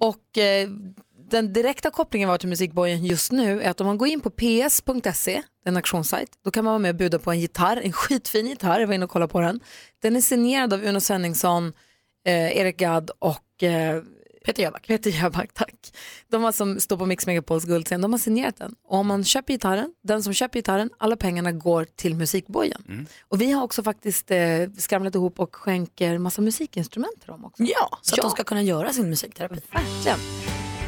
Speaker 1: Och eh, den direkta kopplingen var till musikbojen just nu är att om man går in på ps.se, en auktionssajt, då kan man vara med och buda på en gitarr, en skitfin gitarr, jag var inne och kollade på den. Den är signerad av Uno Svenningsson, eh, Erik Gadd och eh, Peter Jöback. Peter Jöback, tack. De har som står på Mix Megapols guldscen, de har signerat den. Och om man köper gitarren, den som köper gitarren, alla pengarna går till musikbojen.
Speaker 18: Mm.
Speaker 1: Och vi har också faktiskt eh, skramlat ihop och skänker massa musikinstrument till dem också.
Speaker 2: Ja, så att de ska kunna göra sin musikterapi.
Speaker 1: Verkligen.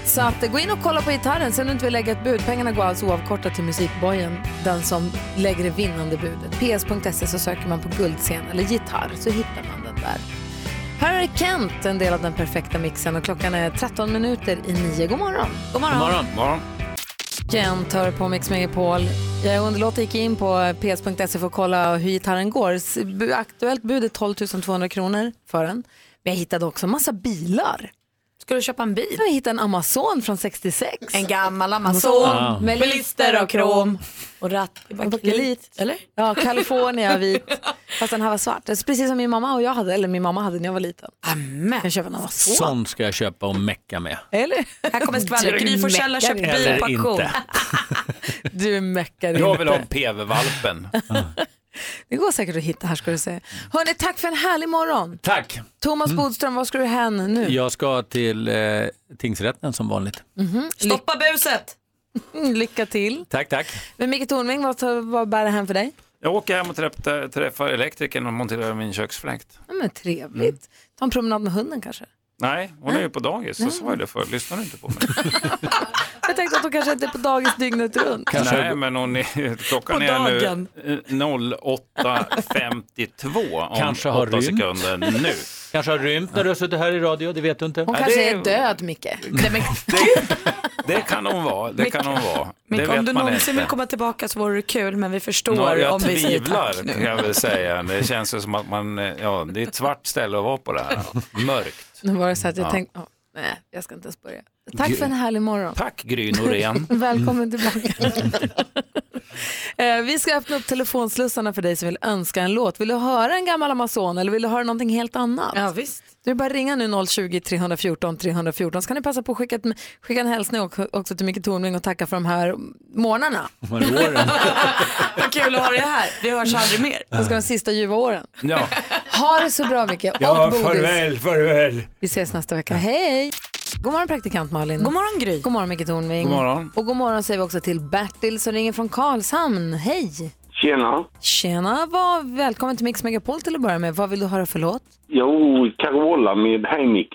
Speaker 1: Så att, eh, gå in och kolla på gitarren, sen om du inte vill lägga ett bud. Pengarna går alltså oavkortat till musikbojen, den som lägger det vinnande budet. PS.se E så söker man på guldscen eller gitarr så hittar man den där. Här är Kent, en del av den perfekta mixen och klockan är 13 minuter i nio. God morgon! God
Speaker 18: morgon.
Speaker 1: Gent hör på Mix Megapol. Jag underlåter gick in på ps.se E för att kolla hur gitarren går. S- bu- Aktuellt bud är 12 200 kronor för den. Men jag hittade också massa bilar.
Speaker 2: Ska du köpa en bil?
Speaker 1: Jag hittade en Amazon från 66.
Speaker 2: En gammal Amazon
Speaker 1: Ja.
Speaker 18: Ah.
Speaker 2: med lister och krom. Och ratt i bakelit. Eller?
Speaker 1: Ja, California vit. Fast den här var svart. Det är precis som min mamma och jag hade, eller min mamma hade när jag var liten.
Speaker 2: Amen.
Speaker 1: Jag köper en Amazon.
Speaker 12: Sånt ska jag köpa och mecka med.
Speaker 1: Eller?
Speaker 2: Här kommer skvallret. Gry Forssell har köpt bil på
Speaker 12: Eller
Speaker 2: auktion.
Speaker 12: inte.
Speaker 1: Du meckar
Speaker 18: Jag vill ha
Speaker 1: inte.
Speaker 18: PV-valpen.
Speaker 1: Det går säkert att hitta här ska du se. Hörni, tack för en härlig morgon.
Speaker 12: Tack!
Speaker 1: Thomas
Speaker 12: Mm.
Speaker 1: Bodström, var ska du hän nu?
Speaker 12: Jag ska till eh, tingsrätten som vanligt.
Speaker 1: Mhm. Mm,
Speaker 2: Stoppa buset!
Speaker 1: Lycka till.
Speaker 18: Tack, tack.
Speaker 1: Men Micke Tornving, vad, tar- vad bär det hem för dig?
Speaker 18: Jag åker hem och träffar, träffar elektrikern och monterar min köksfläkt.
Speaker 1: Ja, men trevligt.
Speaker 12: Mm.
Speaker 1: Ta en promenad med hunden kanske.
Speaker 18: Nej, hon är ju på dagis. Så sa jag det förr. Lyssnar du inte på mig?
Speaker 1: Jag tänkte att hon kanske inte är på dagis dygnet runt.
Speaker 18: Nej, men hon är, klockan
Speaker 1: På
Speaker 18: är
Speaker 1: dagen.
Speaker 18: nu eh, 08.52 om
Speaker 12: Kanske har
Speaker 18: åtta
Speaker 12: rymt.
Speaker 18: sekunder nu.
Speaker 12: Kanske har rymt när du har suttit här i radio, det vet du inte.
Speaker 1: Hon
Speaker 12: Ja,
Speaker 1: kanske
Speaker 12: det-
Speaker 1: är död, Micke.
Speaker 18: Det kan hon vara. Det kan hon vara. Det
Speaker 2: Men om
Speaker 18: vet
Speaker 2: du
Speaker 18: man
Speaker 2: någonsin vill
Speaker 18: inte.
Speaker 2: komma tillbaka så vore det kul, men vi förstår
Speaker 18: Nå, jag
Speaker 2: om vi säger
Speaker 18: tvivlar
Speaker 2: tack nu.
Speaker 18: kan jag väl säga. Det känns ju som att man, eh, ja, det är ett svart ställe att vara på det här. Mörkt.
Speaker 1: Nu var det så att jag
Speaker 18: Ja.
Speaker 1: tänkte, ja, nej, jag ska inte ens börja. Tack
Speaker 18: Gud.
Speaker 1: för en härlig morgon.
Speaker 18: Tack Gry Norén. Mm.
Speaker 1: Välkommen tillbaka. Eh, Vi ska öppna upp telefonslussarna för dig som vill önska en låt. Vill du höra en gammal Amazon eller vill du höra någonting helt annat? Ja,
Speaker 2: visst.
Speaker 1: Du är bara att ringa nu 020-314 314 så kan ni passa på att skicka, ett, skicka en hälsning också, också till Micke Tornving och tacka för de här morgnarna.
Speaker 2: Vad kul att ha dig här. Vi hörs aldrig mer.
Speaker 1: Det ska de sista ljuva åren.
Speaker 18: Ja,
Speaker 1: Ha det så bra Micke
Speaker 18: ja
Speaker 1: och Bodis.
Speaker 18: farväl, farväl.
Speaker 1: Vi ses nästa vecka. Hej! God morgon praktikant Malin. God
Speaker 2: morgon Gry.
Speaker 1: God morgon Micke Tornving.
Speaker 23: God morgon.
Speaker 1: Och god morgon säger vi också till Bertil som ringer från Karlshamn. Hej!
Speaker 23: Tjena.
Speaker 1: Tjena, vad, välkommen till Mix Megapol till att börja med. Vad vill du höra för låt?
Speaker 23: Jo, Carola med Hej Micke.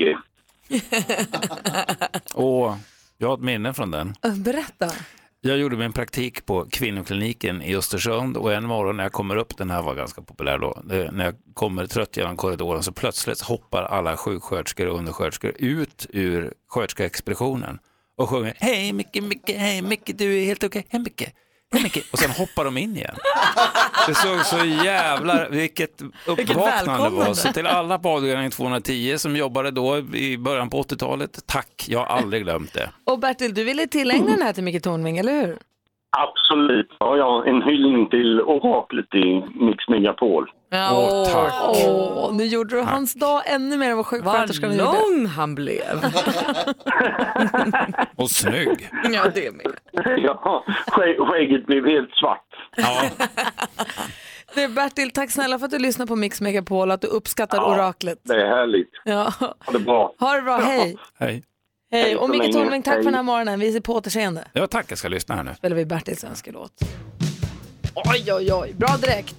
Speaker 18: Åh, jag har ett minne från den.
Speaker 1: Ö, Berätta.
Speaker 18: Jag gjorde min praktik på kvinnokliniken i Östersund och en morgon när jag kommer upp, den här var ganska populär då, eh, när jag kommer trött genom korridoren så plötsligt hoppar alla sjuksköterskor och undersköterskor ut ur sköterskeexpeditionen och sjunger Hej Micke, Micke, hej Micke, du är helt okej, hej Micke, hej Micke och sen hoppar de in igen. Det såg så jävlar, vilket uppvaknande det var.
Speaker 23: välkomnande.
Speaker 18: Så till alla på avdelning 210 som jobbade då i början på 80-talet, tack, jag har aldrig glömt det.
Speaker 1: Och Bertil, du ville tillägna den här till Micke Tornving, eller hur?
Speaker 23: Absolut. Ja, ja, en hyllning till oraklet i Mix Megapol.
Speaker 1: Åh, nu gjorde du hans dag ännu mer än vad sjuksköterskan
Speaker 23: Vad
Speaker 1: gjorde.
Speaker 23: lång
Speaker 2: han blev.
Speaker 18: Och snygg.
Speaker 2: Ja, det med.
Speaker 23: ja, skä- skägget blev helt svart.
Speaker 1: Du, Bertil, tack snälla för att du lyssnar på Mix Megapol och att du uppskattar oraklet.
Speaker 23: Det är härligt.
Speaker 1: Ja.
Speaker 23: Ha det bra.
Speaker 1: Ha det bra, hej.
Speaker 18: Hej.
Speaker 1: Hej. Och
Speaker 23: så
Speaker 1: Micke
Speaker 23: länge.
Speaker 1: Tornving, tack för
Speaker 23: Hej.
Speaker 1: den här morgonen. Vi ser på återseende.
Speaker 18: Ja, tack, jag ska lyssna här nu.
Speaker 1: spelar vi Bertils önskelåt. Oj, oj, oj. Bra direkt.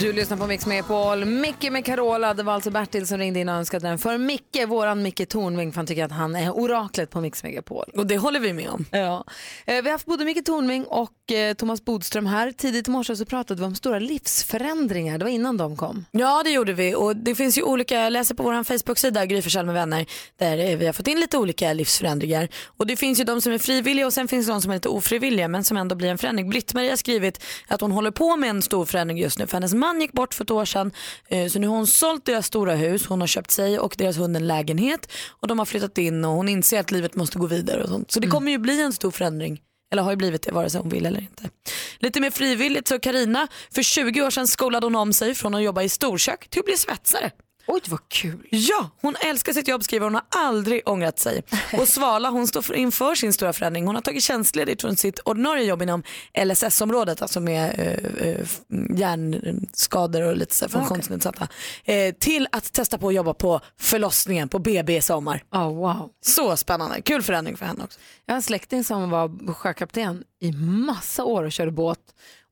Speaker 1: Du lyssnar på Mix Megapol. Micke med Carola. Det var alltså Bertil som ringde in och önskade den för Micke, våran Micke Tornving, för han tycker att han är oraklet på Mix Megapol.
Speaker 2: Och det håller vi med om.
Speaker 1: Ja. Eh, Vi har haft både Micke Tornving och eh, Thomas Bodström här. Tidigt i morse så pratade vi om stora livsförändringar. Det var innan de kom.
Speaker 2: Ja, det gjorde vi. Och det finns ju olika, jag läser på vår Facebook-sida, Gry Forssell med vänner, där eh, vi har fått in lite olika livsförändringar. Och det finns ju de som är frivilliga och sen finns det de som är lite ofrivilliga men som ändå blir en förändring. Britt-Marie har skrivit att hon håller på med en stor förändring just nu för hennes man gick bort för ett år sedan. Eh, Så nu har hon sålt deras stora hus, hon har köpt sig och deras hund en lägenhet och de har flyttat in och hon inser att livet måste gå vidare och sånt. Så det kommer ju bli en stor förändring. Eller har ju blivit det vare sig hon vill eller inte. Lite mer frivilligt så Karina för 20 år sedan skolade hon om sig från att jobba i storkök till att bli svetsare.
Speaker 1: Oj vad kul.
Speaker 2: Ja, hon älskar sitt jobb skriver hon och har aldrig ångrat sig. Och Svala hon står för- inför sin stora förändring. Hon har tagit tjänstledigt från sitt ordinarie jobb inom LSS-området, alltså med eh, eh, f- hjärnskador och lite så
Speaker 1: Ah,
Speaker 2: här funktionsnedsatta. Eh, till att testa på att jobba på förlossningen på BB i sommar.
Speaker 1: Oh, wow.
Speaker 2: Så spännande, kul förändring för henne också.
Speaker 1: Jag har en släkting som var sjökapten i massa år och körde båt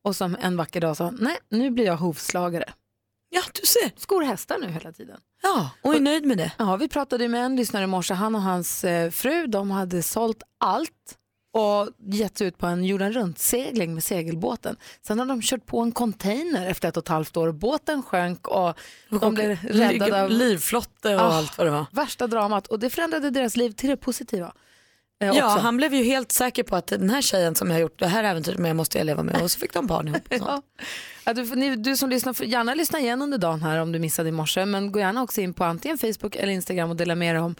Speaker 1: och som en vacker dag sa, nej nu blir jag hovslagare.
Speaker 2: Ja, du ser.
Speaker 1: Skor hästar nu hela tiden.
Speaker 2: Ja, och är nöjd med det.
Speaker 1: Ja, vi pratade ju med en lyssnare i morse, han och hans eh, fru, de hade sålt allt och gett sig ut på en jorden runt-segling med segelbåten. Sen har de kört på en container efter ett och ett halvt år, båten sjönk och de blev räddade av... Ah.
Speaker 2: Livflotte och allt vad det var.
Speaker 1: Värsta dramat och det förändrade deras liv till det positiva. eh,
Speaker 2: Ja,
Speaker 1: också.
Speaker 2: han blev ju helt säker på att den här tjejen som jag har gjort det här äventyret med måste jag leva med och så fick de barn ihop. och sånt.
Speaker 1: Ja, du, får- ni, du som lyssnar får gärna lyssna igen under dagen här om du missade i morse. Men gå gärna också in på antingen Facebook eller Instagram och dela med dig, om,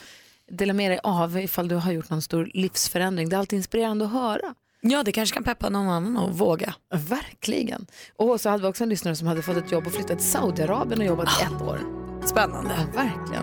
Speaker 1: dela med dig av ifall du har gjort någon stor livsförändring. Det är alltid inspirerande att höra.
Speaker 2: Ja, det kanske kan peppa någon annan att våga.
Speaker 1: Verkligen. Och så hade vi också en lyssnare som hade fått ett jobb och flyttat till Saudiarabien och jobbat i ett år.
Speaker 2: Spännande.
Speaker 1: Ja, verkligen.